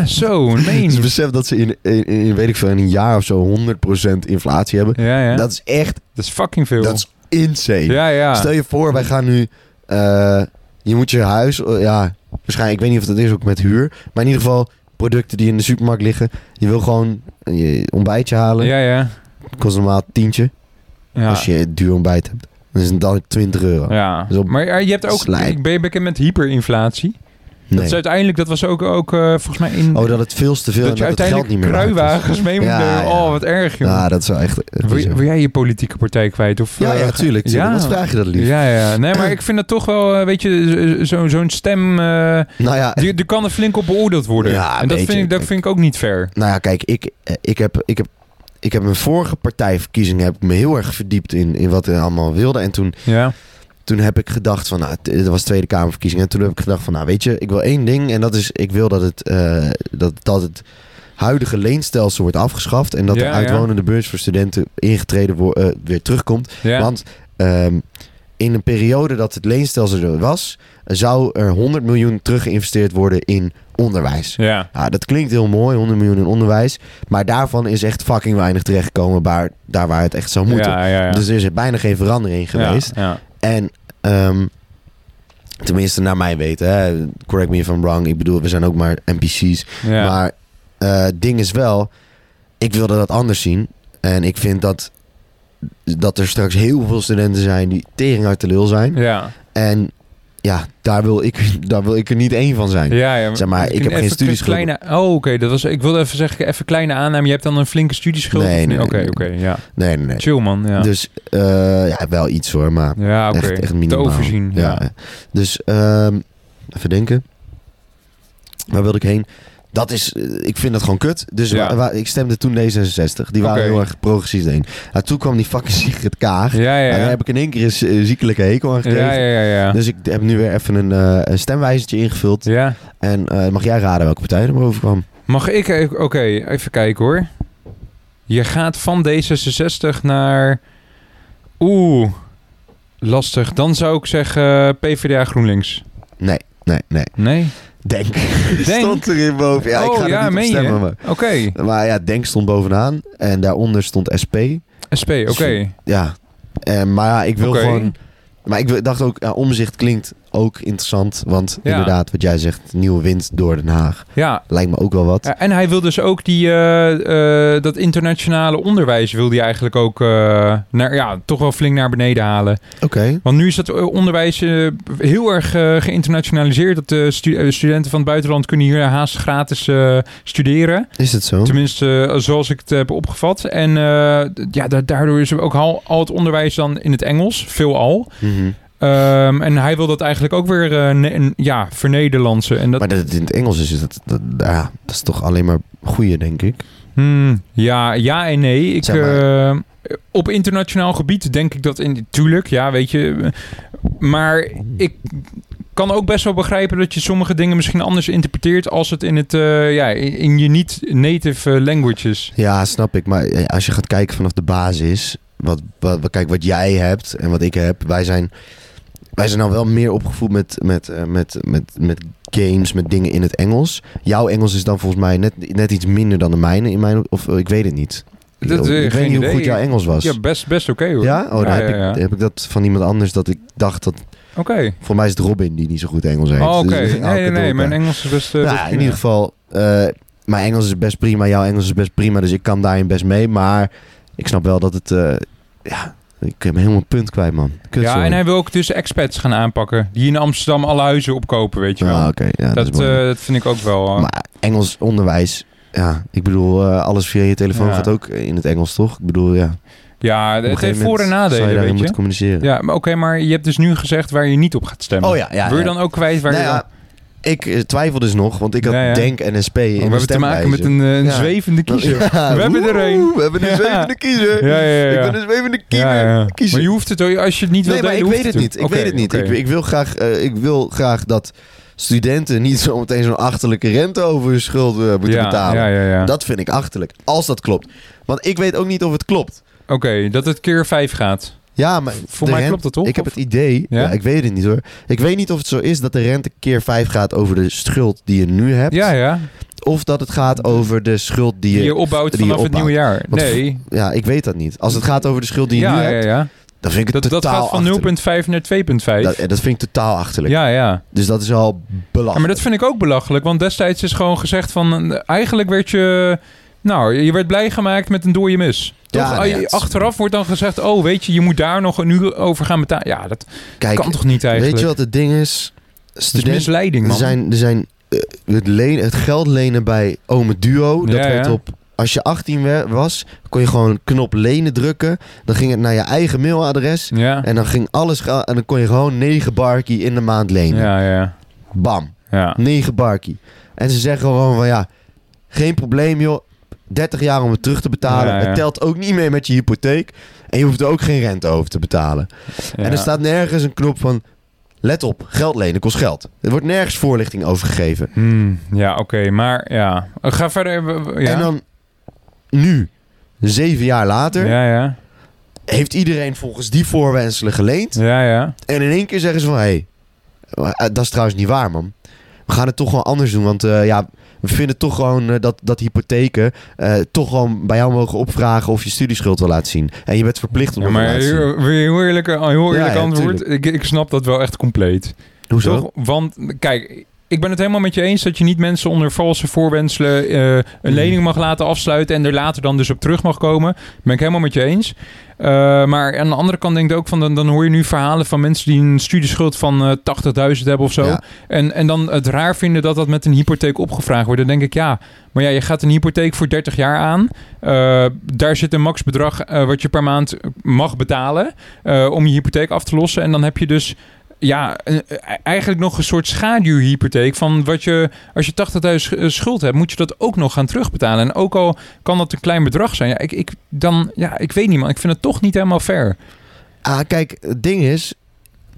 Speaker 2: zo, nee.
Speaker 1: Dus besef dat ze in, in, in, weet ik veel, in een jaar of zo 100% inflatie hebben.
Speaker 2: Ja, ja. Dat,
Speaker 1: Dat is echt...
Speaker 2: is fucking veel.
Speaker 1: Dat is insane.
Speaker 2: ja, ja.
Speaker 1: Stel je voor, wij gaan nu... eh, je moet je huis... eh, ja, waarschijnlijk... Ik weet niet of dat is ook met huur. Maar in ieder geval... Producten die in de supermarkt liggen. Je wil gewoon eh, je ontbijtje halen.
Speaker 2: ja, ja.
Speaker 1: Kost normaal tientje.
Speaker 2: ja.
Speaker 1: Als je een duur ontbijt hebt. Dan is het dan 20 euro.
Speaker 2: Ja,
Speaker 1: Dus op-
Speaker 2: maar eh, je hebt ook,
Speaker 1: Slijt.
Speaker 2: ben je bekend met hyperinflatie? Dat
Speaker 1: Nee.
Speaker 2: is uiteindelijk, dat was ook, ook eh, volgens mij in...
Speaker 1: Oh, dat het veel te veel
Speaker 2: dat
Speaker 1: en dat
Speaker 2: je
Speaker 1: het geld
Speaker 2: uiteindelijk
Speaker 1: niet meer waard is.
Speaker 2: kruiwagens mee moet
Speaker 1: Ja,
Speaker 2: nemen.
Speaker 1: ja.
Speaker 2: Oh, wat erg, joh.
Speaker 1: Ja, dat is wel echt... eh,
Speaker 2: wil,
Speaker 1: bizar.
Speaker 2: wil jij je politieke partij kwijt? Of,
Speaker 1: ja, ja,
Speaker 2: eh,
Speaker 1: tuurlijk. tuurlijk.
Speaker 2: ja.
Speaker 1: Wat vraag je dat lief?
Speaker 2: Ja, ja. Nee, maar ik vind dat toch wel, eh, weet je, zo- zo'n stem, eh,
Speaker 1: Nou ja,
Speaker 2: die, die kan er flink op beoordeeld worden.
Speaker 1: Ja,
Speaker 2: en dat
Speaker 1: weet
Speaker 2: vind,
Speaker 1: je,
Speaker 2: ik, dat
Speaker 1: ik-
Speaker 2: vind ik ook niet fair.
Speaker 1: Nou ja, kijk, ik, eh, ik, heb, ik, heb, ik heb mijn vorige partijverkiezing heb ik me heel erg verdiept in, in wat er allemaal wilde. En toen,
Speaker 2: Ja,
Speaker 1: toen heb ik gedacht van, nou, t- dat was Tweede Kamerverkiezing. En toen heb ik gedacht van, nou weet je, ik wil één ding. En dat is, ik wil dat het, eh, dat, dat het huidige leenstelsel wordt afgeschaft. En dat
Speaker 2: Ja,
Speaker 1: de
Speaker 2: ja.
Speaker 1: uitwonende beurs voor studenten ingetreden wordt, eh, weer terugkomt.
Speaker 2: ja.
Speaker 1: Want ehm, in een periode dat het leenstelsel er was, zou er 100 miljoen terug geïnvesteerd worden in onderwijs.
Speaker 2: ja.
Speaker 1: Ja, dat klinkt heel mooi, 100 miljoen in onderwijs. Maar daarvan is echt fucking weinig terechtgekomen waar, daar waar het echt zou moeten.
Speaker 2: Ja, ja, ja.
Speaker 1: Dus er is bijna geen verandering in geweest.
Speaker 2: Ja, ja.
Speaker 1: En ehm, tenminste, naar mijn weten, hè, correct me if I'm wrong. Ik bedoel, we zijn ook maar NPC's.
Speaker 2: Ja.
Speaker 1: Maar eh, het ding is wel, ik wilde dat anders zien. En ik vind dat, dat er straks heel veel studenten zijn die tering uit de lul zijn.
Speaker 2: ja.
Speaker 1: En ja, daar wil, ik, daar wil ik er niet één van zijn.
Speaker 2: Ja, ja.
Speaker 1: Zeg maar, ik heb
Speaker 2: Even
Speaker 1: geen studieschuld.
Speaker 2: Kleine, oh, oké. dat was. Ik wilde even zeggen, even kleine aanname. Je hebt dan een flinke studieschuld?
Speaker 1: Nee,
Speaker 2: of niet?
Speaker 1: nee,
Speaker 2: Oké,
Speaker 1: nee,
Speaker 2: oké. ja.
Speaker 1: Nee, nee, nee.
Speaker 2: Chill, man. Ja,
Speaker 1: Dus eh, ja, wel iets hoor, maar
Speaker 2: ja oké.
Speaker 1: echt, echt
Speaker 2: Te
Speaker 1: minimaal.
Speaker 2: overzien. Ja.
Speaker 1: Ja. Dus ehm, even denken. Waar wilde ik heen? Dat is, eh, ik vind dat gewoon kut. Dus
Speaker 2: Ja.
Speaker 1: wa- wa- ik stemde toen D66. Die waren
Speaker 2: Oké.
Speaker 1: heel erg progressief heen. Nou, toen kwam die fucking Sigrid Kaag.
Speaker 2: Ja, ja,
Speaker 1: En daar
Speaker 2: ja.
Speaker 1: heb ik in één keer een eh, ziekelijke hekel aan gekregen.
Speaker 2: Ja, ja, ja. Ja.
Speaker 1: Dus ik heb nu weer even een, eh een stemwijzertje ingevuld.
Speaker 2: ja.
Speaker 1: En eh, mag jij raden welke partij er boven kwam?
Speaker 2: Mag ik even... Oké, even kijken hoor. Je gaat van D66 naar... Oeh, lastig. Dan zou ik zeggen PvdA GroenLinks.
Speaker 1: Nee, nee, nee.
Speaker 2: Nee?
Speaker 1: Denk.
Speaker 2: Denk.
Speaker 1: Stond erin boven. Ja, ik
Speaker 2: Oh,
Speaker 1: ga er
Speaker 2: ja,
Speaker 1: niet op
Speaker 2: meen je?
Speaker 1: stemmen, maar...
Speaker 2: Oké,
Speaker 1: Maar ja, Denk stond bovenaan. En daaronder stond SP.
Speaker 2: SP, oké.
Speaker 1: Ja. En, maar ja, ik wil
Speaker 2: Oké.
Speaker 1: gewoon... Maar ik wil- dacht ook, ja, omzicht klinkt ook interessant. Want
Speaker 2: Ja.
Speaker 1: inderdaad, wat jij zegt, nieuwe wind door Den Haag.
Speaker 2: Ja,
Speaker 1: Lijkt me ook wel wat.
Speaker 2: en hij wil dus ook die, eh, eh, dat internationale onderwijs wil hij eigenlijk ook eh, naar, ja, toch wel flink naar beneden halen.
Speaker 1: Oké.
Speaker 2: Want nu is dat eh, onderwijs eh, heel erg eh, geïnternationaliseerd. Dat de stu- eh, studenten van het buitenland kunnen hier haast gratis eh, studeren.
Speaker 1: Is het zo?
Speaker 2: Tenminste, eh, zoals ik het heb opgevat. En eh, d- ja, da- daardoor is er ook al, al het onderwijs dan in het Engels, veelal.
Speaker 1: Mhm.
Speaker 2: Ehm en hij wil dat eigenlijk ook weer eh, ne- en- ja, vernederlandsen. En dat,
Speaker 1: Maar dat het in het Engels is, dat, dat, ja, dat is toch alleen maar goeie, denk ik.
Speaker 2: Hmm, ja, ja en nee. Ik,
Speaker 1: Zeg maar.
Speaker 2: eh, op internationaal gebied denk ik dat... In, tuurlijk, ja, weet je. Maar ik kan ook best wel begrijpen dat je sommige dingen misschien anders interpreteert... als het in, het, eh, ja, in, in je niet-native eh, languages.
Speaker 1: Ja, snap ik. Maar eh, als je gaat kijken vanaf de basis, wat, wat, wat- kijk, wat jij hebt en wat ik heb, wij zijn, wij zijn nou wel meer opgevoed met, met, eh, met, met, met games, met dingen in het Engels. Jouw Engels is dan volgens mij net, net iets minder dan de mijne, in mijn, of eh, ik weet het niet. Ik-
Speaker 2: Dat, eh,
Speaker 1: ik weet
Speaker 2: geen
Speaker 1: niet hoe
Speaker 2: idee.
Speaker 1: goed jouw Engels was.
Speaker 2: Ja, best, best oké hoor.
Speaker 1: Ja? Oh, dan
Speaker 2: Ja,
Speaker 1: heb,
Speaker 2: ja,
Speaker 1: Ik,
Speaker 2: ja.
Speaker 1: heb ik dat van iemand anders dat ik dacht dat...
Speaker 2: Oké.
Speaker 1: Voor mij is het Robin die niet zo goed Engels heeft.
Speaker 2: Oh, oké.
Speaker 1: Dus dan
Speaker 2: Nee,
Speaker 1: haal ik
Speaker 2: nee,
Speaker 1: het
Speaker 2: nee.
Speaker 1: door
Speaker 2: Mijn
Speaker 1: elkaar.
Speaker 2: Engels is best... eh,
Speaker 1: Nou,
Speaker 2: best
Speaker 1: in ieder geval, eh, mijn Engels is best prima, jouw Engels is best prima, dus ik kan daarin best mee. Maar ik snap wel dat het, eh, ja, ik heb helemaal een punt kwijt, man. Kut,
Speaker 2: Ja,
Speaker 1: sorry.
Speaker 2: en hij wil ook dus expats gaan aanpakken. Die in Amsterdam alle huizen opkopen, weet je wel.
Speaker 1: Ah, oké, ja, dat,
Speaker 2: dat,
Speaker 1: is belangrijk.
Speaker 2: eh, dat vind ik ook wel... eh,
Speaker 1: Maar Engels onderwijs, ja, ik bedoel, eh, alles via je telefoon
Speaker 2: Ja.
Speaker 1: gaat ook in het Engels, toch? Ik bedoel, ja. op
Speaker 2: ja,
Speaker 1: een
Speaker 2: het heeft
Speaker 1: gegeven
Speaker 2: voor- en
Speaker 1: moment zou je
Speaker 2: nadelen,
Speaker 1: daarin
Speaker 2: weet je.
Speaker 1: moeten communiceren.
Speaker 2: Ja, maar oké, maar je hebt dus nu gezegd waar je niet op gaat stemmen.
Speaker 1: Oh ja, ja.
Speaker 2: Wil je
Speaker 1: ja.
Speaker 2: dan ook kwijt waar
Speaker 1: Nou
Speaker 2: je...
Speaker 1: ja,
Speaker 2: dan-
Speaker 1: ik eh, twijfel dus nog, want ik had
Speaker 2: Ja, ja.
Speaker 1: Denk en SP in
Speaker 2: Oh, we hebben te maken met een, eh, een
Speaker 1: Ja.
Speaker 2: zwevende kiezer.
Speaker 1: Ja,
Speaker 2: We hebben er
Speaker 1: woe,
Speaker 2: een.
Speaker 1: We hebben een
Speaker 2: Ja.
Speaker 1: zwevende kiezer.
Speaker 2: Ja, ja, ja, ja.
Speaker 1: Ik ben een zwevende kiezer.
Speaker 2: Ja, ja.
Speaker 1: kiezer.
Speaker 2: Maar je hoeft het, ook- als je het niet wil
Speaker 1: Nee, maar ik
Speaker 2: delen,
Speaker 1: weet
Speaker 2: hoeft
Speaker 1: het niet. Ik
Speaker 2: Oké,
Speaker 1: weet het niet.
Speaker 2: oké.
Speaker 1: Ik, ik, wil graag, eh, ik wil graag dat studenten niet zometeen zo'n achterlijke rente over hun schuld eh, moeten
Speaker 2: ja,
Speaker 1: betalen.
Speaker 2: Ja, ja, ja.
Speaker 1: Dat vind ik achterlijk. Als dat klopt. Want ik weet ook niet of het klopt.
Speaker 2: Oké, dat het keer 5 gaat.
Speaker 1: Ja, maar
Speaker 2: Voor
Speaker 1: de
Speaker 2: mij
Speaker 1: rent-
Speaker 2: klopt dat toch?
Speaker 1: Ik heb
Speaker 2: Of-
Speaker 1: het idee,
Speaker 2: Ja?
Speaker 1: ja? ik weet het niet hoor. Ik weet niet of het zo is dat de rente keer 5 gaat over de schuld die je nu hebt.
Speaker 2: Ja, ja.
Speaker 1: Of dat het gaat over de schuld die
Speaker 2: Die
Speaker 1: je...
Speaker 2: je opbouwt
Speaker 1: die je
Speaker 2: vanaf het
Speaker 1: opbouwt.
Speaker 2: nieuwe jaar.
Speaker 1: Want
Speaker 2: nee.
Speaker 1: Ja, ik weet dat niet. Als het gaat over de schuld die je
Speaker 2: Ja,
Speaker 1: nu
Speaker 2: ja,
Speaker 1: hebt,
Speaker 2: ja.
Speaker 1: dan vind ik het
Speaker 2: Dat, dat
Speaker 1: totaal
Speaker 2: gaat van
Speaker 1: achterlijk.
Speaker 2: 0,5 naar 2,5.
Speaker 1: Dat, dat vind ik totaal achterlijk.
Speaker 2: Ja, ja.
Speaker 1: Dus dat is al belachelijk.
Speaker 2: Ja, maar dat vind ik ook belachelijk. Want destijds is gewoon gezegd van... eh, Eigenlijk werd je... Nou, je werd blij gemaakt met een dode mis. Toch?
Speaker 1: Ja,
Speaker 2: Ah, je-
Speaker 1: ja, het is-
Speaker 2: Achteraf wordt dan gezegd... Oh, weet je, je moet daar nog een uur over gaan betalen. Ja, dat
Speaker 1: Kijk,
Speaker 2: kan toch niet eigenlijk?
Speaker 1: Weet je wat het ding is?
Speaker 2: Dat is
Speaker 1: Studenten
Speaker 2: misleiding,
Speaker 1: er
Speaker 2: man.
Speaker 1: zijn, er zijn eh, het, lenen, het geld lenen bij Ome Duo. Dat
Speaker 2: Ja,
Speaker 1: werd
Speaker 2: ja.
Speaker 1: op. Als je 18 we- was, kon je gewoon een knop lenen drukken. Dan ging het naar je eigen mailadres.
Speaker 2: Ja,
Speaker 1: En dan ging alles. ga- En dan kon je gewoon 9 barkie in de maand lenen.
Speaker 2: ja, ja.
Speaker 1: Bam.
Speaker 2: ja.
Speaker 1: 9 barkie. En ze zeggen gewoon van ja, geen probleem joh. 30 jaar om het terug te betalen.
Speaker 2: Ja, ja.
Speaker 1: Het telt ook niet mee met je hypotheek. En je hoeft er ook geen rente over te betalen. En er staat nergens een knop van... Let op, geld lenen kost geld. Er wordt nergens voorlichting over gegeven.
Speaker 2: Hmm, ja, oké. maar ja. Eh, Ga verder. w- w- Ja,
Speaker 1: En dan nu, zeven jaar later...
Speaker 2: ja, ja.
Speaker 1: heeft iedereen volgens die voorwenselen geleend.
Speaker 2: Ja, ja.
Speaker 1: En in één keer zeggen ze van... Hé, hey, dat is trouwens niet waar, man. We gaan het toch gewoon anders doen. Want eh, ja, we vinden toch gewoon eh, dat, dat hypotheken... eh, toch gewoon bij jou mogen opvragen of je studieschuld wil laten zien. En je bent verplicht om
Speaker 2: Ja,
Speaker 1: dat te
Speaker 2: maar
Speaker 1: laten zien.
Speaker 2: heel, heel eerlijk, een heel
Speaker 1: Ja,
Speaker 2: eerlijk
Speaker 1: ja,
Speaker 2: antwoord. Ik, ik snap dat wel echt compleet.
Speaker 1: Hoezo?
Speaker 2: Toch? Want kijk, ik ben het helemaal met je eens dat je niet mensen onder valse voorwenselen eh,
Speaker 1: Hmm.
Speaker 2: een lening mag laten afsluiten en er later dan dus op terug mag komen. Ben ik helemaal met je eens. Eh, maar aan de andere kant denk ik ook van dan, dan hoor je nu verhalen van mensen die een studieschuld van eh, 80.000 hebben of zo.
Speaker 1: Ja.
Speaker 2: En, en dan het raar vinden dat dat met een hypotheek opgevraagd wordt. Dan denk ik ja, maar ja, je gaat een hypotheek voor 30 jaar aan. Eh, daar zit een maxbedrag eh, wat je per maand mag betalen eh, om je hypotheek af te lossen. En dan heb je dus ja, een- eh, eigenlijk nog een soort schaduwhypotheek van wat je als je 80.000 sch- eh, schuld hebt, moet je dat ook nog gaan terugbetalen. En ook al kan dat een klein bedrag zijn, ja, ik, ik dan ja, ik weet niet man, ik vind het toch niet helemaal fair.
Speaker 1: Ah, kijk, het ding is,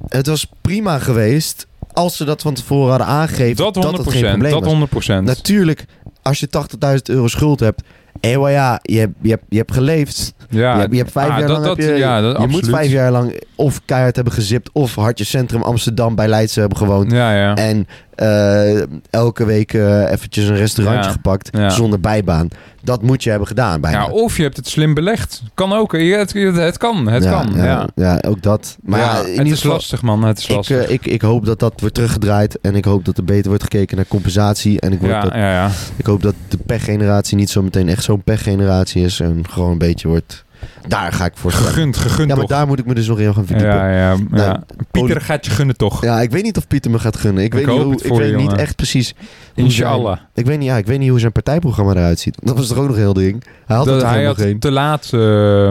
Speaker 1: het was prima geweest als ze dat van tevoren hadden aangegeven
Speaker 2: Dat 100%,
Speaker 1: het geen probleem
Speaker 2: dat
Speaker 1: was.
Speaker 2: 100%.
Speaker 1: Natuurlijk, als je 80.000 euro schuld hebt... Hé, maar ja, je, hebt- je, hebt- je hebt geleefd.
Speaker 2: Ja,
Speaker 1: je, hebt, je hebt vijf
Speaker 2: ah,
Speaker 1: jaar
Speaker 2: dat-
Speaker 1: lang... heb
Speaker 2: dat-
Speaker 1: je
Speaker 2: ja, dat
Speaker 1: je moet
Speaker 2: absoluut.
Speaker 1: vijf jaar lang of keihard hebben gezipt... of hartje centrum Amsterdam bij Leidse hebben gewoond.
Speaker 2: ja, ja.
Speaker 1: En eh, elke week eh, eventjes een restaurantje
Speaker 2: Ja.
Speaker 1: gepakt
Speaker 2: Ja.
Speaker 1: zonder bijbaan. Dat moet je hebben gedaan bijna.
Speaker 2: ja, of je hebt het slim belegd. Kan ook. hè. Ja, Het, het kan, het
Speaker 1: Ja,
Speaker 2: kan. Ja,
Speaker 1: ja, ja, ook dat. Maar ja, in
Speaker 2: het
Speaker 1: ieder
Speaker 2: is
Speaker 1: geval,
Speaker 2: lastig, man. Het is
Speaker 1: ik,
Speaker 2: lastig.
Speaker 1: eh, ik, ik hoop dat dat wordt teruggedraaid. En ik hoop dat er beter wordt gekeken naar compensatie. En ik, word
Speaker 2: ja,
Speaker 1: dat,
Speaker 2: ja, ja.
Speaker 1: ik hoop dat de pechgeneratie niet zo meteen echt zo'n pechgeneratie is. En gewoon een beetje wordt... Daar ga ik voor stemmen.
Speaker 2: Gegund, gegund
Speaker 1: Ja, maar
Speaker 2: toch?
Speaker 1: daar moet ik me dus nog in gaan verdiepen. Ja.
Speaker 2: ja, ja, ja.
Speaker 1: poli-
Speaker 2: Pieter gaat je gunnen toch?
Speaker 1: ik weet niet of Pieter me gaat gunnen. Ik,
Speaker 2: Ik
Speaker 1: weet, niet,
Speaker 2: hoop
Speaker 1: hoe,
Speaker 2: het
Speaker 1: ik
Speaker 2: voor je,
Speaker 1: weet niet
Speaker 2: jongen.
Speaker 1: echt precies hoe zijn-
Speaker 2: Inshallah.
Speaker 1: Ik weet, niet, ja, ik weet niet hoe zijn partijprogramma eruit ziet. Dat was toch ook nog een heel ding. Hij had
Speaker 2: Dat
Speaker 1: het er
Speaker 2: hij
Speaker 1: helemaal
Speaker 2: had
Speaker 1: geen.
Speaker 2: te laat... eh,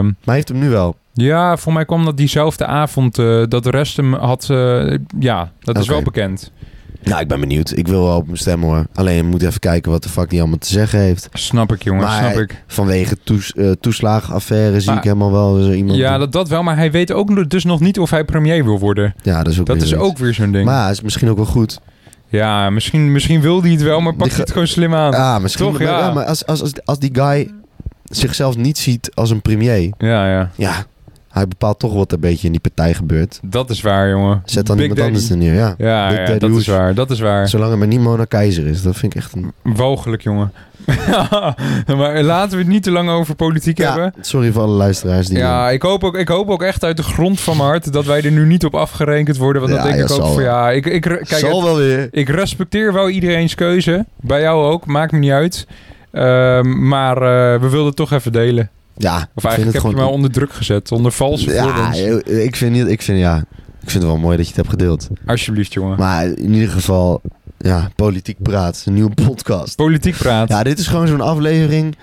Speaker 1: Maar hij heeft hem nu wel.
Speaker 2: ja, voor mij kwam dat diezelfde avond eh, dat de rest hem had... eh, ja, dat is
Speaker 1: Oké.
Speaker 2: wel bekend.
Speaker 1: Nou, ik ben benieuwd. Ik wil wel op hem stemmen hoor. Alleen we moeten even kijken wat de fuck die allemaal te zeggen heeft.
Speaker 2: Snap ik, jongen.
Speaker 1: Maar
Speaker 2: snap
Speaker 1: hij-
Speaker 2: ik.
Speaker 1: Vanwege toes, eh, toeslagenaffaire zie
Speaker 2: Maar-
Speaker 1: ik helemaal wel zo iemand.
Speaker 2: Ja, dat, dat wel. Maar hij weet ook dus nog niet of hij premier wil worden.
Speaker 1: ja, dat is ook
Speaker 2: Dat
Speaker 1: weer
Speaker 2: is
Speaker 1: zoiets.
Speaker 2: ook weer zo'n ding.
Speaker 1: Maar ja, is misschien ook wel goed.
Speaker 2: Ja, misschien, misschien wil hij het wel, maar
Speaker 1: Die
Speaker 2: pakt hij
Speaker 1: ga-
Speaker 2: het gewoon slim aan.
Speaker 1: Ah, misschien.
Speaker 2: Toch,
Speaker 1: maar,
Speaker 2: ja.
Speaker 1: maar als, als, als, als die guy zichzelf niet ziet als een premier.
Speaker 2: Ja, ja.
Speaker 1: Ja, hij bepaalt toch wat er een beetje in die partij gebeurt.
Speaker 2: Dat is waar, jongen.
Speaker 1: Zet dan
Speaker 2: Big
Speaker 1: iemand
Speaker 2: Daddy.
Speaker 1: anders er neer. Ja.
Speaker 2: Ja,
Speaker 1: Big
Speaker 2: ja,
Speaker 1: Daddy
Speaker 2: dat is
Speaker 1: Hoes.
Speaker 2: waar. Dat is waar.
Speaker 1: Zolang het maar niet Mona Keizer is. Dat vind ik echt een...
Speaker 2: Walgelijk, jongen. maar laten we het niet te lang over politiek hebben.
Speaker 1: sorry voor alle luisteraars die...
Speaker 2: Ja, ik hoop, ook, ik hoop ook echt uit de grond van mijn hart dat wij er nu niet op afgerekend worden. Want dat
Speaker 1: Ja,
Speaker 2: denk
Speaker 1: ja,
Speaker 2: ik ook
Speaker 1: zal
Speaker 2: voor
Speaker 1: wel.
Speaker 2: ja. Ik, ik, kijk, het-
Speaker 1: Zal wel weer.
Speaker 2: ik respecteer wel iedereen's keuze. Bij jou ook, maakt me niet uit. Ehm, maar eh, we wilden het toch even delen.
Speaker 1: Ja,
Speaker 2: Of
Speaker 1: ik vind
Speaker 2: eigenlijk
Speaker 1: het
Speaker 2: heb
Speaker 1: gewoon...
Speaker 2: je mij onder druk gezet, onder valse
Speaker 1: ja,
Speaker 2: voorwends.
Speaker 1: ik vind, niet, ik, vind, ja, ik vind het wel mooi dat je het hebt gedeeld.
Speaker 2: Alsjeblieft, jongen.
Speaker 1: Maar in ieder geval, ja, politiek praat. Een nieuwe podcast.
Speaker 2: Politiek praat.
Speaker 1: Ja, dit is gewoon zo'n aflevering...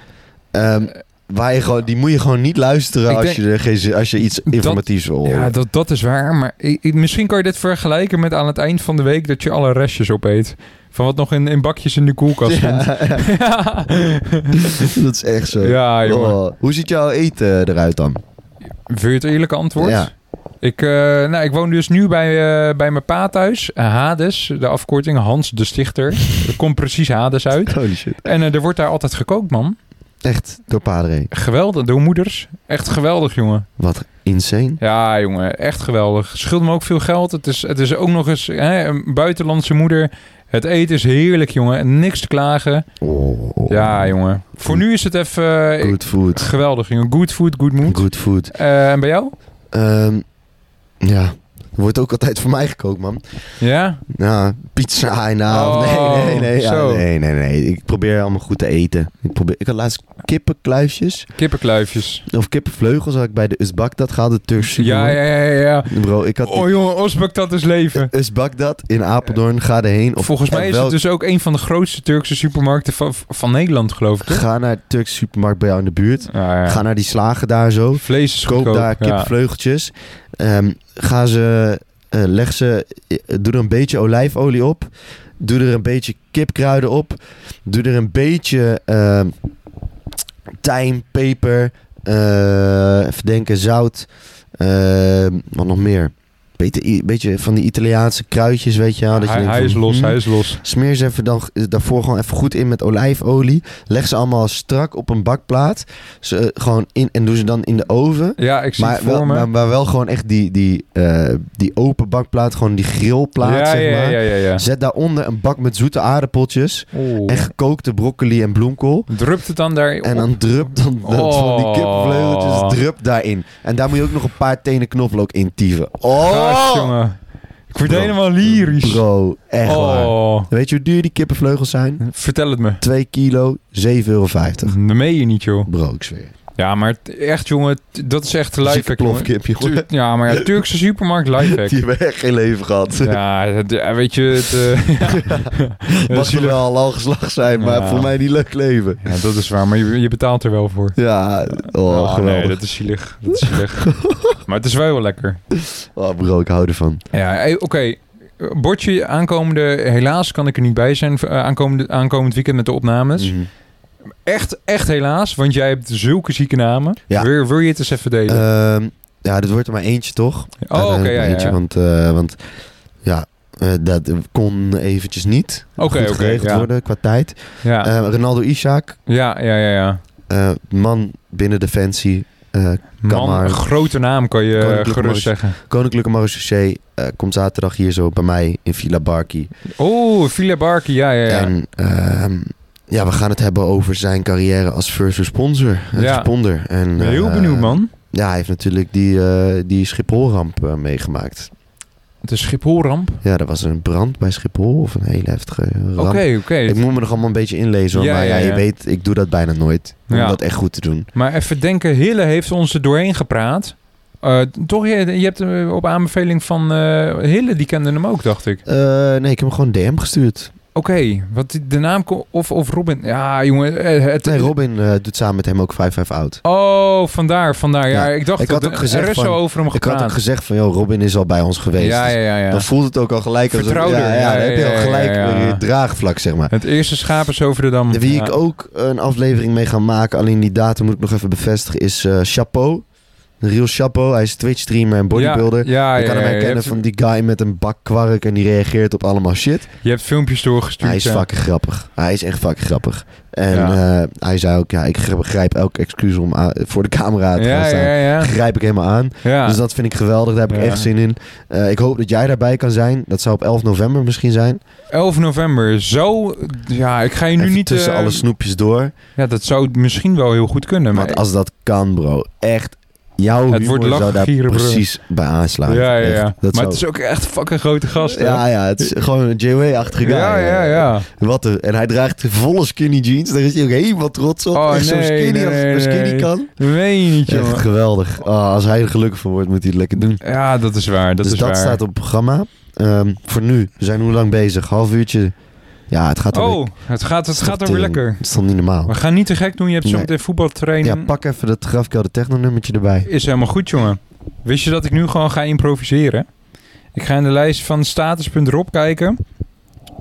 Speaker 1: ehm, waar je gewoon, die moet je gewoon niet luisteren
Speaker 2: Ik
Speaker 1: als,
Speaker 2: denk-
Speaker 1: je er geen zin- als je iets informatiefs wil horen.
Speaker 2: Ja, dat, dat is waar. Maar i- i- misschien kan je dit vergelijken met aan het eind van de week dat je alle restjes opeet. Van wat nog in, in bakjes in de koelkast stond.
Speaker 1: Ja,
Speaker 2: Ja,
Speaker 1: dat is echt zo.
Speaker 2: ja jongen.
Speaker 1: Oh, hoe ziet jouw eten eruit dan?
Speaker 2: Wil je het eerlijke antwoord?
Speaker 1: Ja.
Speaker 2: Ik, eh, nou, ik woon dus nu bij, eh, bij mijn pa thuis. Eh, Hades, de afkorting. Hans de Stichter. Er komt precies Hades uit.
Speaker 1: Holy shit.
Speaker 2: En eh, er wordt daar altijd gekookt, man.
Speaker 1: Echt, door Padre.
Speaker 2: Geweldig, door moeders. Echt geweldig, jongen.
Speaker 1: Wat insane.
Speaker 2: Ja, jongen, echt geweldig. Scheelt me ook veel geld. Het is, het is ook nog eens hè, een buitenlandse moeder. Het eten is heerlijk, jongen. Niks te klagen.
Speaker 1: Oh,
Speaker 2: Ja, jongen. Voor nu is het even eh,
Speaker 1: Good food.
Speaker 2: geweldig, jongen. Good food, good mood.
Speaker 1: Good food.
Speaker 2: Eh, en bij jou?
Speaker 1: Ehm, ja, wordt ook altijd voor mij gekookt, man.
Speaker 2: Ja?
Speaker 1: Ja, pizza en
Speaker 2: Oh,
Speaker 1: nee, nee, nee, ja,
Speaker 2: zo.
Speaker 1: nee, nee, nee. Ik probeer allemaal goed te eten. Ik, probeer, ik had laatst kippenkluifjes
Speaker 2: Kippenkluifjes.
Speaker 1: of kippenvleugels had ik bij de Usbakdat gehaald, de Turkse
Speaker 2: Ja,
Speaker 1: jongen.
Speaker 2: ja, ja, ja, ja.
Speaker 1: Bro, ik had eh,
Speaker 2: Oh, jongen, Osbak, dat is leven.
Speaker 1: Usbakdat in Apeldoorn, ga erheen. Of
Speaker 2: Volgens mij
Speaker 1: en
Speaker 2: is
Speaker 1: wel-
Speaker 2: het dus ook een van de grootste Turkse supermarkten van, van Nederland, geloof ik. toch?
Speaker 1: Ga naar de Turkse supermarkt bij jou in de buurt.
Speaker 2: dus- Ja, ja.
Speaker 1: Ga naar die slagen daar zo.
Speaker 2: Vlees is
Speaker 1: Koop
Speaker 2: goedkoop.
Speaker 1: daar
Speaker 2: ja.
Speaker 1: kipvleugeltjes. Ehm, ga ze, eh, leg ze, eh, doe er een beetje olijfolie op. Doe er een beetje kipkruiden op. Doe er een beetje ehm tijm, peper, eh even denken, zout. Ehm, wat nog meer? Beetje, i- beetje van die Italiaanse kruidjes, weet je wel. dat je
Speaker 2: Hij,
Speaker 1: denkt
Speaker 2: hij
Speaker 1: van,
Speaker 2: is los,
Speaker 1: hmm.
Speaker 2: hij is los.
Speaker 1: Smeer ze even dan, eh, daarvoor gewoon even goed in met olijfolie. Leg ze allemaal strak op een bakplaat. Ze, eh, gewoon in, en doe ze dan in de oven.
Speaker 2: Ja, ik zie
Speaker 1: Maar
Speaker 2: het voor
Speaker 1: wel,
Speaker 2: me.
Speaker 1: maar, maar wel gewoon echt die, die, eh, die open bakplaat, gewoon die grillplaat,
Speaker 2: ja,
Speaker 1: zeg
Speaker 2: ja,
Speaker 1: maar.
Speaker 2: ja, ja, ja.
Speaker 1: Zet daaronder een bak met zoete aardappeltjes
Speaker 2: Oeh.
Speaker 1: en gekookte broccoli en bloemkool.
Speaker 2: Drupt het dan daar op?
Speaker 1: En dan drup dan dat van die
Speaker 2: Oh.
Speaker 1: kipvleugeltjes drup daarin. En daar moet je ook nog een paar tenen knoflook in tieven. Oh!
Speaker 2: Gast, jongen. Ik word
Speaker 1: Bro.
Speaker 2: helemaal lyrisch.
Speaker 1: Bro, echt waar.
Speaker 2: oh.
Speaker 1: Weet je hoe duur die kippenvleugels zijn?
Speaker 2: Vertel het me.
Speaker 1: 2 kilo, 7,50 euro.
Speaker 2: Dat meen je niet, joh.
Speaker 1: Bro, ik zweer.
Speaker 2: Ja, maar t- echt, jongen. t- Dat is echt
Speaker 1: Zieke
Speaker 2: lifehack, jongen.
Speaker 1: plofkipje,
Speaker 2: Tu-
Speaker 1: hoor.
Speaker 2: Ja, maar ja, Turkse supermarkt lifehack.
Speaker 1: Die hebben echt geen leven gehad.
Speaker 2: Ja, het- ja, weet je, het, eh, ja,
Speaker 1: Mag ze
Speaker 2: zielig.
Speaker 1: wel al al geslacht zijn, maar
Speaker 2: Ja.
Speaker 1: voor mij niet leuk leven.
Speaker 2: ja, dat is waar, maar je, je betaalt er wel voor.
Speaker 1: Ja, oh,
Speaker 2: Ah,
Speaker 1: geweldig.
Speaker 2: nee, dat is zielig. Dat is zielig. maar het is wel heel lekker.
Speaker 1: Oh, bro, ik hou ervan.
Speaker 2: Ja, hey, oké. Bordje aankomende, helaas kan ik er niet bij zijn. eh, Aankomende, aankomend weekend met de opnames.
Speaker 1: Mhm.
Speaker 2: Echt, echt helaas, want jij hebt zulke zieke namen.
Speaker 1: Ja. Eh,
Speaker 2: Wil, wil je het eens even delen?
Speaker 1: Ehm, ja, dit wordt er maar eentje, toch?
Speaker 2: oh, oké.
Speaker 1: Uiteindelijk
Speaker 2: ja,
Speaker 1: maar
Speaker 2: ja,
Speaker 1: eentje,
Speaker 2: ja.
Speaker 1: Want, eh, want ja, Eh, dat kon eventjes niet.
Speaker 2: Oké,
Speaker 1: Goed
Speaker 2: oké,
Speaker 1: geregeld
Speaker 2: ja.
Speaker 1: worden qua tijd.
Speaker 2: Ja,
Speaker 1: Eh, Ronaldo Isaac,
Speaker 2: ja, ja, ja. ja.
Speaker 1: eh, man binnen Defensie. eh,
Speaker 2: Man,
Speaker 1: maar.
Speaker 2: een grote naam kan je eh,
Speaker 1: Koninklijke
Speaker 2: gerust
Speaker 1: Maurits-
Speaker 2: zeggen.
Speaker 1: Koninklijke Marechaussee eh, komt zaterdag hier zo bij mij in Villa Barki.
Speaker 2: Oh, Villa Barkie, ja, ja, ja.
Speaker 1: En ehm, ja, we gaan het hebben over zijn carrière als first responder. eh,
Speaker 2: Ja.
Speaker 1: responder. En,
Speaker 2: Ik ben Heel
Speaker 1: eh,
Speaker 2: benieuwd, man.
Speaker 1: Ja, hij heeft natuurlijk die, eh, die Schiphol-ramp eh, meegemaakt.
Speaker 2: De Schipholramp.
Speaker 1: Ja, er was een brand bij Schiphol of een hele heftige ramp.
Speaker 2: Oké, oké.
Speaker 1: Ik moet me nog allemaal een beetje inlezen. hoor,
Speaker 2: Ja,
Speaker 1: maar ja,
Speaker 2: ja,
Speaker 1: je
Speaker 2: ja.
Speaker 1: weet, ik doe dat bijna nooit. Om
Speaker 2: Ja.
Speaker 1: dat echt goed te doen.
Speaker 2: Maar even denken, Hille heeft ons er doorheen gepraat. Eh, toch, je, je hebt eh, op aanbeveling van eh, Hille, die kende hem ook, dacht ik.
Speaker 1: Eh, nee, ik heb hem gewoon een DM gestuurd.
Speaker 2: Oké, wat die- de naam ko- of, of Robin. Ja, jongen. eh, Het,
Speaker 1: Nee, Robin eh, doet samen met hem ook 5-5 out.
Speaker 2: Oh, vandaar, vandaar. Ja, ik dacht
Speaker 1: ik had
Speaker 2: dat
Speaker 1: ook gezegd
Speaker 2: er is
Speaker 1: van-
Speaker 2: zo over hem
Speaker 1: Ik had
Speaker 2: gepraat.
Speaker 1: ook gezegd van, joh, Robin is al bij ons geweest. Dus
Speaker 2: ja, ja, ja, ja.
Speaker 1: Dan voelt het ook al gelijk. Als
Speaker 2: Vertrouwder.
Speaker 1: Ja, ja,
Speaker 2: Ja,
Speaker 1: dan
Speaker 2: ja,
Speaker 1: heb je
Speaker 2: ja,
Speaker 1: al gelijk
Speaker 2: ja, ja.
Speaker 1: weer je draagvlak, zeg maar.
Speaker 2: Het eerste schaap is over de dam.
Speaker 1: Wie
Speaker 2: Ja.
Speaker 1: ik ook een aflevering mee ga maken, alleen die datum moet ik nog even bevestigen, is eh, Chapeau. Real Chapeau, hij is Twitch-streamer en bodybuilder.
Speaker 2: Ja, ja,
Speaker 1: je kan hem
Speaker 2: ja, ja. Je
Speaker 1: herkennen
Speaker 2: hebt-
Speaker 1: van die guy met een bak kwark en die reageert op allemaal shit.
Speaker 2: Je hebt filmpjes doorgestuurd.
Speaker 1: Hij is
Speaker 2: ja.
Speaker 1: fucking grappig. Hij is echt fucking grappig. En
Speaker 2: Ja.
Speaker 1: eh, hij zei ook, ja, ik begrijp elk excuus om aan- voor de camera te gaan
Speaker 2: Ja,
Speaker 1: staan.
Speaker 2: ja, ja.
Speaker 1: Grijp ik helemaal aan.
Speaker 2: ja.
Speaker 1: Dus dat vind ik geweldig. Daar heb ik
Speaker 2: Ja.
Speaker 1: echt zin in. Eh, ik hoop dat jij daarbij kan zijn. Dat zou op 11 november misschien zijn. 11
Speaker 2: 11 november. Zo. Ja, ik ga je nu
Speaker 1: Even
Speaker 2: niet.
Speaker 1: tussen
Speaker 2: eh,
Speaker 1: alle snoepjes door.
Speaker 2: Ja, dat zou misschien wel heel goed kunnen. Maar
Speaker 1: Want als dat kan, bro. Echt. Jouw
Speaker 2: Het
Speaker 1: humor
Speaker 2: wordt lachen,
Speaker 1: zou daar
Speaker 2: gieren, bro.
Speaker 1: precies bij aanslaan.
Speaker 2: ja, ja,
Speaker 1: Echt.
Speaker 2: ja.
Speaker 1: Dat
Speaker 2: maar
Speaker 1: zou-
Speaker 2: het is ook echt fucking grote gast. hè?
Speaker 1: ja, ja, het is gewoon een JW-achtige guy. eh.
Speaker 2: ja, ja, ja.
Speaker 1: Wat een- En hij draagt volle skinny jeans. Daar is hij ook helemaal trots op.
Speaker 2: Oh,
Speaker 1: Echt zo'n
Speaker 2: nee,
Speaker 1: skinny
Speaker 2: nee,
Speaker 1: als het maar skinny
Speaker 2: nee.
Speaker 1: kan.
Speaker 2: Weet je niet,
Speaker 1: Echt
Speaker 2: jongen.
Speaker 1: geweldig. Ah, als hij er gelukkig van wordt, moet hij het lekker doen.
Speaker 2: Ja, dat is waar. Dat
Speaker 1: dus
Speaker 2: is
Speaker 1: dat
Speaker 2: waar.
Speaker 1: staat op het programma. Ehm, voor nu. We zijn hoe lang bezig? Half uurtje. Ja, het gaat alweer-
Speaker 2: Oh, het gaat, het
Speaker 1: is
Speaker 2: gaat
Speaker 1: toch
Speaker 2: er weer
Speaker 1: tering.
Speaker 2: lekker.
Speaker 1: Het is toch niet normaal?
Speaker 2: We gaan niet te gek doen. Je hebt zo
Speaker 1: Oh. Nee.
Speaker 2: meteen voetbaltraining.
Speaker 1: Ja, pak even dat grafkelder techno nummertje erbij.
Speaker 2: Is helemaal goed, jongen. Wist je dat ik nu gewoon ga improviseren? Ik ga in de lijst van status.rob kijken.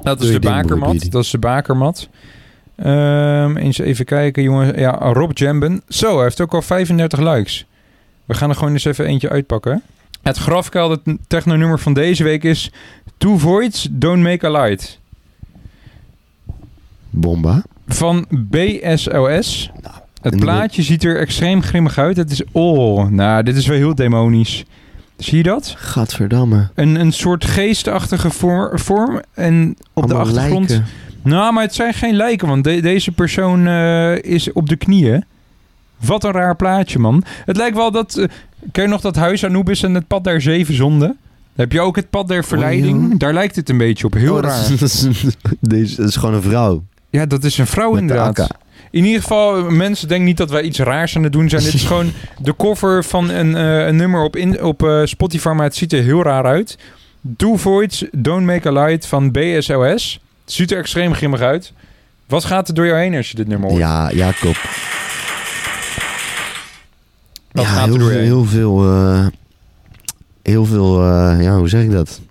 Speaker 2: Dat
Speaker 1: Doe
Speaker 2: is
Speaker 1: je
Speaker 2: de
Speaker 1: ding, broer, doe
Speaker 2: bakermat.
Speaker 1: je
Speaker 2: Dat is de bakermat. Ehm, eens even kijken, jongen. Ja, Rob Jamben. Zo, hij heeft ook al 35 likes. We gaan er gewoon eens even eentje uitpakken. Het grafkelder technonummer van deze week is... Two Voids, Don't Make a Light.
Speaker 1: Bomba.
Speaker 2: Van BSOS.
Speaker 1: en
Speaker 2: Het
Speaker 1: die-
Speaker 2: plaatje ziet er extreem grimmig uit. Het is... Oh, nou, dit is wel heel demonisch. Zie je dat?
Speaker 1: Gadverdamme.
Speaker 2: Een, een soort geestachtige voor- vorm. En op de
Speaker 1: Allemaal
Speaker 2: achtergrond...
Speaker 1: lijken.
Speaker 2: Nou, maar het zijn geen lijken, want de- deze persoon eh, is op de knieën. Wat een raar plaatje, man. Het lijkt wel dat... eh, ken je nog dat huis Anubis en het pad der zeven zonden? Heb je ook het pad der verleiding?
Speaker 1: Oh, ja.
Speaker 2: Daar lijkt het een beetje op. Heel
Speaker 1: Oh, dat
Speaker 2: raar.
Speaker 1: is- Dat is, deze, dat is gewoon een vrouw.
Speaker 2: Ja, dat is een vrouw
Speaker 1: Met de
Speaker 2: inderdaad.
Speaker 1: akka.
Speaker 2: In ieder geval, mensen denken niet dat wij iets raars aan het doen zijn. Dit is gewoon de cover van een, eh, een nummer op, in, op eh, Spotify, maar het ziet er heel raar uit. Do Voids, Don't Make a Light van BSOS. Het ziet er extreem grimmig uit. Wat gaat er door jou heen als je dit nummer hoort?
Speaker 1: Ja, Jacob.
Speaker 2: Wat
Speaker 1: ja,
Speaker 2: gaat
Speaker 1: heel,
Speaker 2: er door je
Speaker 1: veel-
Speaker 2: heen?
Speaker 1: heel veel... eh, heel veel... eh, ja, hoe zeg ik dat?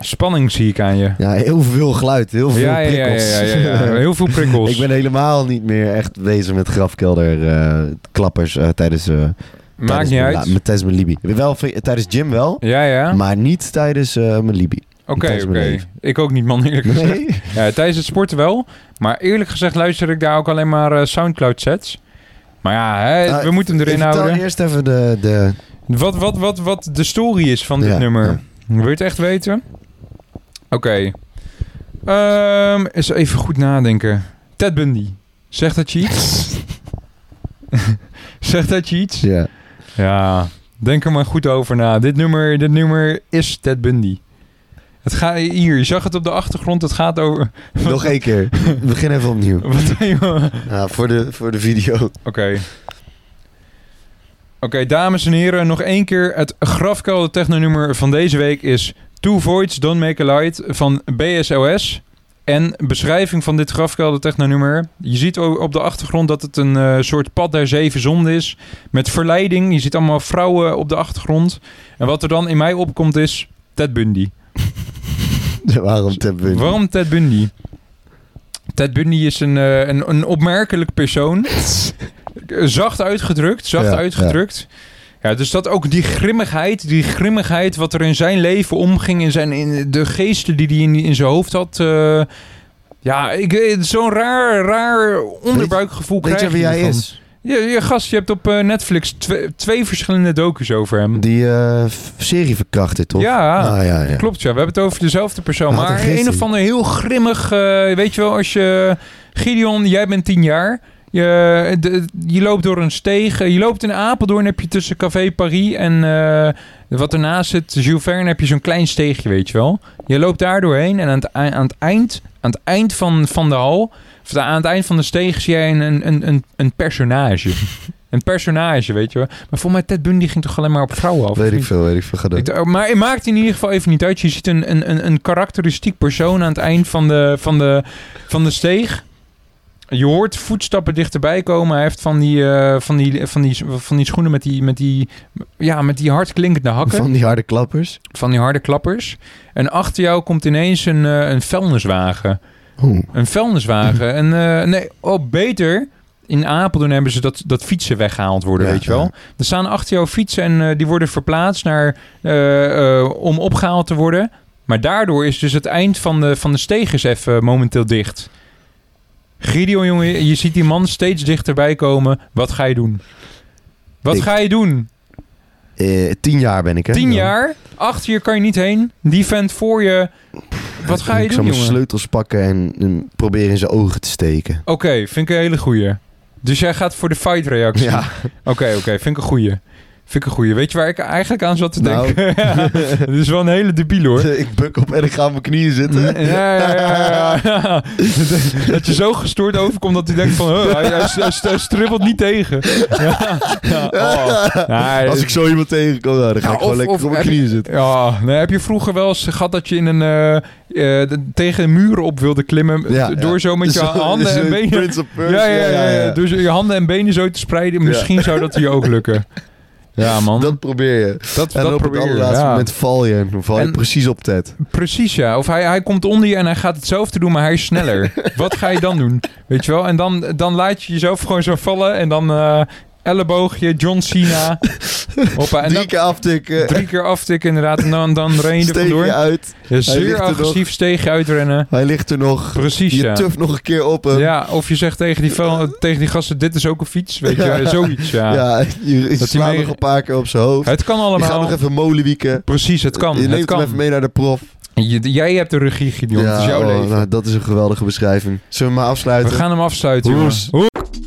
Speaker 2: Spanning zie ik aan je.
Speaker 1: Ja, heel veel geluid. Heel veel
Speaker 2: Ja, ja, ja,
Speaker 1: prikkels.
Speaker 2: ja, ja, ja. Heel veel prikkels.
Speaker 1: ik ben helemaal niet meer echt bezig met grafkelder eh, klappers eh, tijdens... eh,
Speaker 2: Maakt
Speaker 1: tijdens
Speaker 2: niet
Speaker 1: mijn
Speaker 2: uit.
Speaker 1: la- met- tijdens mijn Libi. Wel, v- tijdens gym wel,
Speaker 2: Ja, ja. Oké,
Speaker 1: maar niet tijdens eh, mijn Libi.
Speaker 2: oké.
Speaker 1: tijdens mijn leven.
Speaker 2: Ik ook niet, man, eerlijk gezegd.
Speaker 1: Nee?
Speaker 2: Ja, Eh, tijdens het sporten wel. Maar eerlijk gezegd luister ik daar ook alleen maar eh, Soundcloud sets. Maar ja, hè,
Speaker 1: Nou,
Speaker 2: we moeten hem erin
Speaker 1: vertel
Speaker 2: houden.
Speaker 1: eerst even de... de
Speaker 2: Wat, wat, wat, wat de story is van dit
Speaker 1: Ja,
Speaker 2: nummer. Wil je het echt weten? Oké. Ehm, eens even goed nadenken. Ted Bundy. Zegt dat je iets? Zegt dat je iets?
Speaker 1: ja.
Speaker 2: Ja. Denk er maar goed over na. Dit nummer, dit nummer is Ted Bundy. Het gaat hier. Je zag het op de achtergrond. Het gaat over.
Speaker 1: Nog één keer. Begin even opnieuw.
Speaker 2: Wat, jongen?
Speaker 1: Ja, voor, de, voor de video.
Speaker 2: Oké. Oké, dames en heren, nog één keer. Het grafkelder technonummer van deze week is Two Voids Don't Make a Light van BSOS. En beschrijving van dit grafkelder technonummer. Je ziet o- op de achtergrond dat het een eh, soort pad der zeven zonden is. Met verleiding. Je ziet allemaal vrouwen op de achtergrond. En wat er dan in mij opkomt is Ted Bundy.
Speaker 1: Waarom Ted Bundy?
Speaker 2: Waarom Ted Bundy? Ted Bundy is een, eh, een, een opmerkelijk persoon. Zacht uitgedrukt, zacht
Speaker 1: Ja,
Speaker 2: uitgedrukt. Ja. Ja, dus dat ook die grimmigheid, die grimmigheid wat er in zijn leven omging, in, zijn, in de geesten die hij in, in zijn hoofd had. eh, ja, ik, eh, zo'n raar, raar onderbuikgevoel
Speaker 1: Weet
Speaker 2: krijg
Speaker 1: je wie hij
Speaker 2: ervan.
Speaker 1: is?
Speaker 2: Je, je gast, je hebt op eh, Netflix twe- twee verschillende docu's over hem.
Speaker 1: Die eh, f- serie verkracht dit, toch?
Speaker 2: Ja,
Speaker 1: Ah, ja, ja.
Speaker 2: klopt ja. We hebben het over dezelfde persoon.
Speaker 1: Wat een
Speaker 2: maar
Speaker 1: geestie.
Speaker 2: een of ander heel grimmig, eh, weet je wel, als je... Gideon, jij bent tien jaar. Je, de- je loopt door een steeg. eh, Je loopt in Apeldoorn, heb je tussen Café Paris en eh, wat ernaast zit, Jules Verne, heb je zo'n klein steegje, weet je wel. Je loopt daar doorheen en aan het, ei- aan het eind, aan het eind van, van de hal, of da- aan het eind van de steeg zie jij een, een, een- een, een personage. een personage, weet je wel. Maar volgens mij Ted Bundy ging toch alleen maar op vrouwen af? of
Speaker 1: Weet ik
Speaker 2: niet?
Speaker 1: veel, weet ik veel. Ga door.
Speaker 2: Ik d- maar het maakt in ieder geval even niet uit. Je ziet een, een, een, een karakteristiek persoon aan het eind van de, van, de, van de steeg. Je hoort voetstappen dichterbij komen. Hij heeft van die, eh, van die, van die, van die schoenen met die, met die, ja, met die hard klinkende hakken. Van,
Speaker 1: Van die harde klappers.
Speaker 2: die harde klappers. En achter jou komt ineens een, eh, een vuilniswagen.
Speaker 1: Oeh.
Speaker 2: Een vuilniswagen. en, eh, nee, oh, beter. In Apeldoorn hebben ze dat, dat fietsen weggehaald worden,
Speaker 1: Ja,
Speaker 2: weet je wel.
Speaker 1: ja.
Speaker 2: Er staan achter jou fietsen en eh, die worden verplaatst naar, eh, eh, om opgehaald te worden. Maar daardoor is dus het eind van de, van de steeg is even momenteel dicht. Gideon, jongen, je- je ziet die man steeds dichterbij komen. Wat ga je doen? Wat
Speaker 1: Ik-
Speaker 2: ga je doen?
Speaker 1: Eh, tien jaar ben ik, hè?
Speaker 2: Tien
Speaker 1: Ja.
Speaker 2: jaar, achter je kan je niet heen. Die vent voor je. Wat ga je
Speaker 1: ik
Speaker 2: doen,
Speaker 1: zal mijn
Speaker 2: jongen?
Speaker 1: sleutels pakken en, en proberen in zijn ogen te steken.
Speaker 2: Oké, vind ik een hele goeie. Dus jij gaat voor de fight reactie.
Speaker 1: Ja.
Speaker 2: Oké, oké, vind ik een goeie. Vind ik een goeie. Weet je waar ik eigenlijk aan zat te
Speaker 1: Nou.
Speaker 2: denken? ja, dat is wel een hele debiel hoor.
Speaker 1: Ik buk op en ik ga op mijn knieën zitten.
Speaker 2: Ja, ja, ja, ja, ja. Dat je zo gestoord overkomt dat hij denkt van... huh, hij, hij, hij- hij stribbelt niet tegen. Ja, ja, oh. Nee,
Speaker 1: Als ik zo iemand tegenkom, nou, dan ga
Speaker 2: Ja,
Speaker 1: ik gewoon
Speaker 2: of-
Speaker 1: lekker
Speaker 2: of
Speaker 1: op mijn
Speaker 2: heb je-
Speaker 1: knieën zitten.
Speaker 2: Ja, nee, heb je vroeger wel eens gehad dat je in een, eh, eh, de- tegen een muur op wilde klimmen...
Speaker 1: Ja,
Speaker 2: door
Speaker 1: ja.
Speaker 2: zo met je
Speaker 1: Zo-
Speaker 2: handen
Speaker 1: zo'n
Speaker 2: en benen
Speaker 1: Prince of Persia,
Speaker 2: Ja, ja, ja, ja. Dus je handen en benen zo te spreiden,
Speaker 1: Ja.
Speaker 2: misschien zou dat je ook lukken. Ja, man. Dat,
Speaker 1: Dat probeer je.
Speaker 2: dat,
Speaker 1: En op het
Speaker 2: probeer je.
Speaker 1: allerlaatste
Speaker 2: ja.
Speaker 1: moment val je. En dan val je
Speaker 2: En-
Speaker 1: precies op Ted.
Speaker 2: Precies, ja. Of hij, hij komt onder je en hij gaat hetzelfde doen, maar hij is sneller. Wat ga je dan doen? Weet je wel? En dan, dan laat je jezelf gewoon zo vallen en dan eh elleboogje, John Cena. Hoppa. En
Speaker 1: Drie
Speaker 2: dan
Speaker 1: keer aftikken.
Speaker 2: drie keer aftikken inderdaad en dan, dan ren je er
Speaker 1: Steek je
Speaker 2: vandoor.
Speaker 1: uit.
Speaker 2: Ja,
Speaker 1: ligt
Speaker 2: zeer
Speaker 1: er
Speaker 2: agressief steeg je uitrennen.
Speaker 1: Hij ligt er nog.
Speaker 2: Precies,
Speaker 1: Je
Speaker 2: ja.
Speaker 1: tuf nog een keer op hem.
Speaker 2: Ja, of je zegt tegen die, vel- tegen die gasten, dit is ook een fiets, weet je.
Speaker 1: Ja.
Speaker 2: Zoiets, ja.
Speaker 1: Ja, je, je
Speaker 2: hij
Speaker 1: slaat
Speaker 2: mee-
Speaker 1: nog een paar keer op zijn hoofd.
Speaker 2: Het kan
Speaker 1: Je gaat
Speaker 2: allemaal.
Speaker 1: nog even molenwieken.
Speaker 2: Precies, het kan.
Speaker 1: Je
Speaker 2: het
Speaker 1: neemt
Speaker 2: kan.
Speaker 1: hem even mee naar de prof.
Speaker 2: Je- jij hebt de regie, Gideon. het is jouw
Speaker 1: oh,
Speaker 2: leven.
Speaker 1: nou, dat is een geweldige beschrijving. Zullen we maar
Speaker 2: We
Speaker 1: afsluiten?
Speaker 2: gaan hem afsluiten,
Speaker 1: Roes.
Speaker 2: jongens. Ho-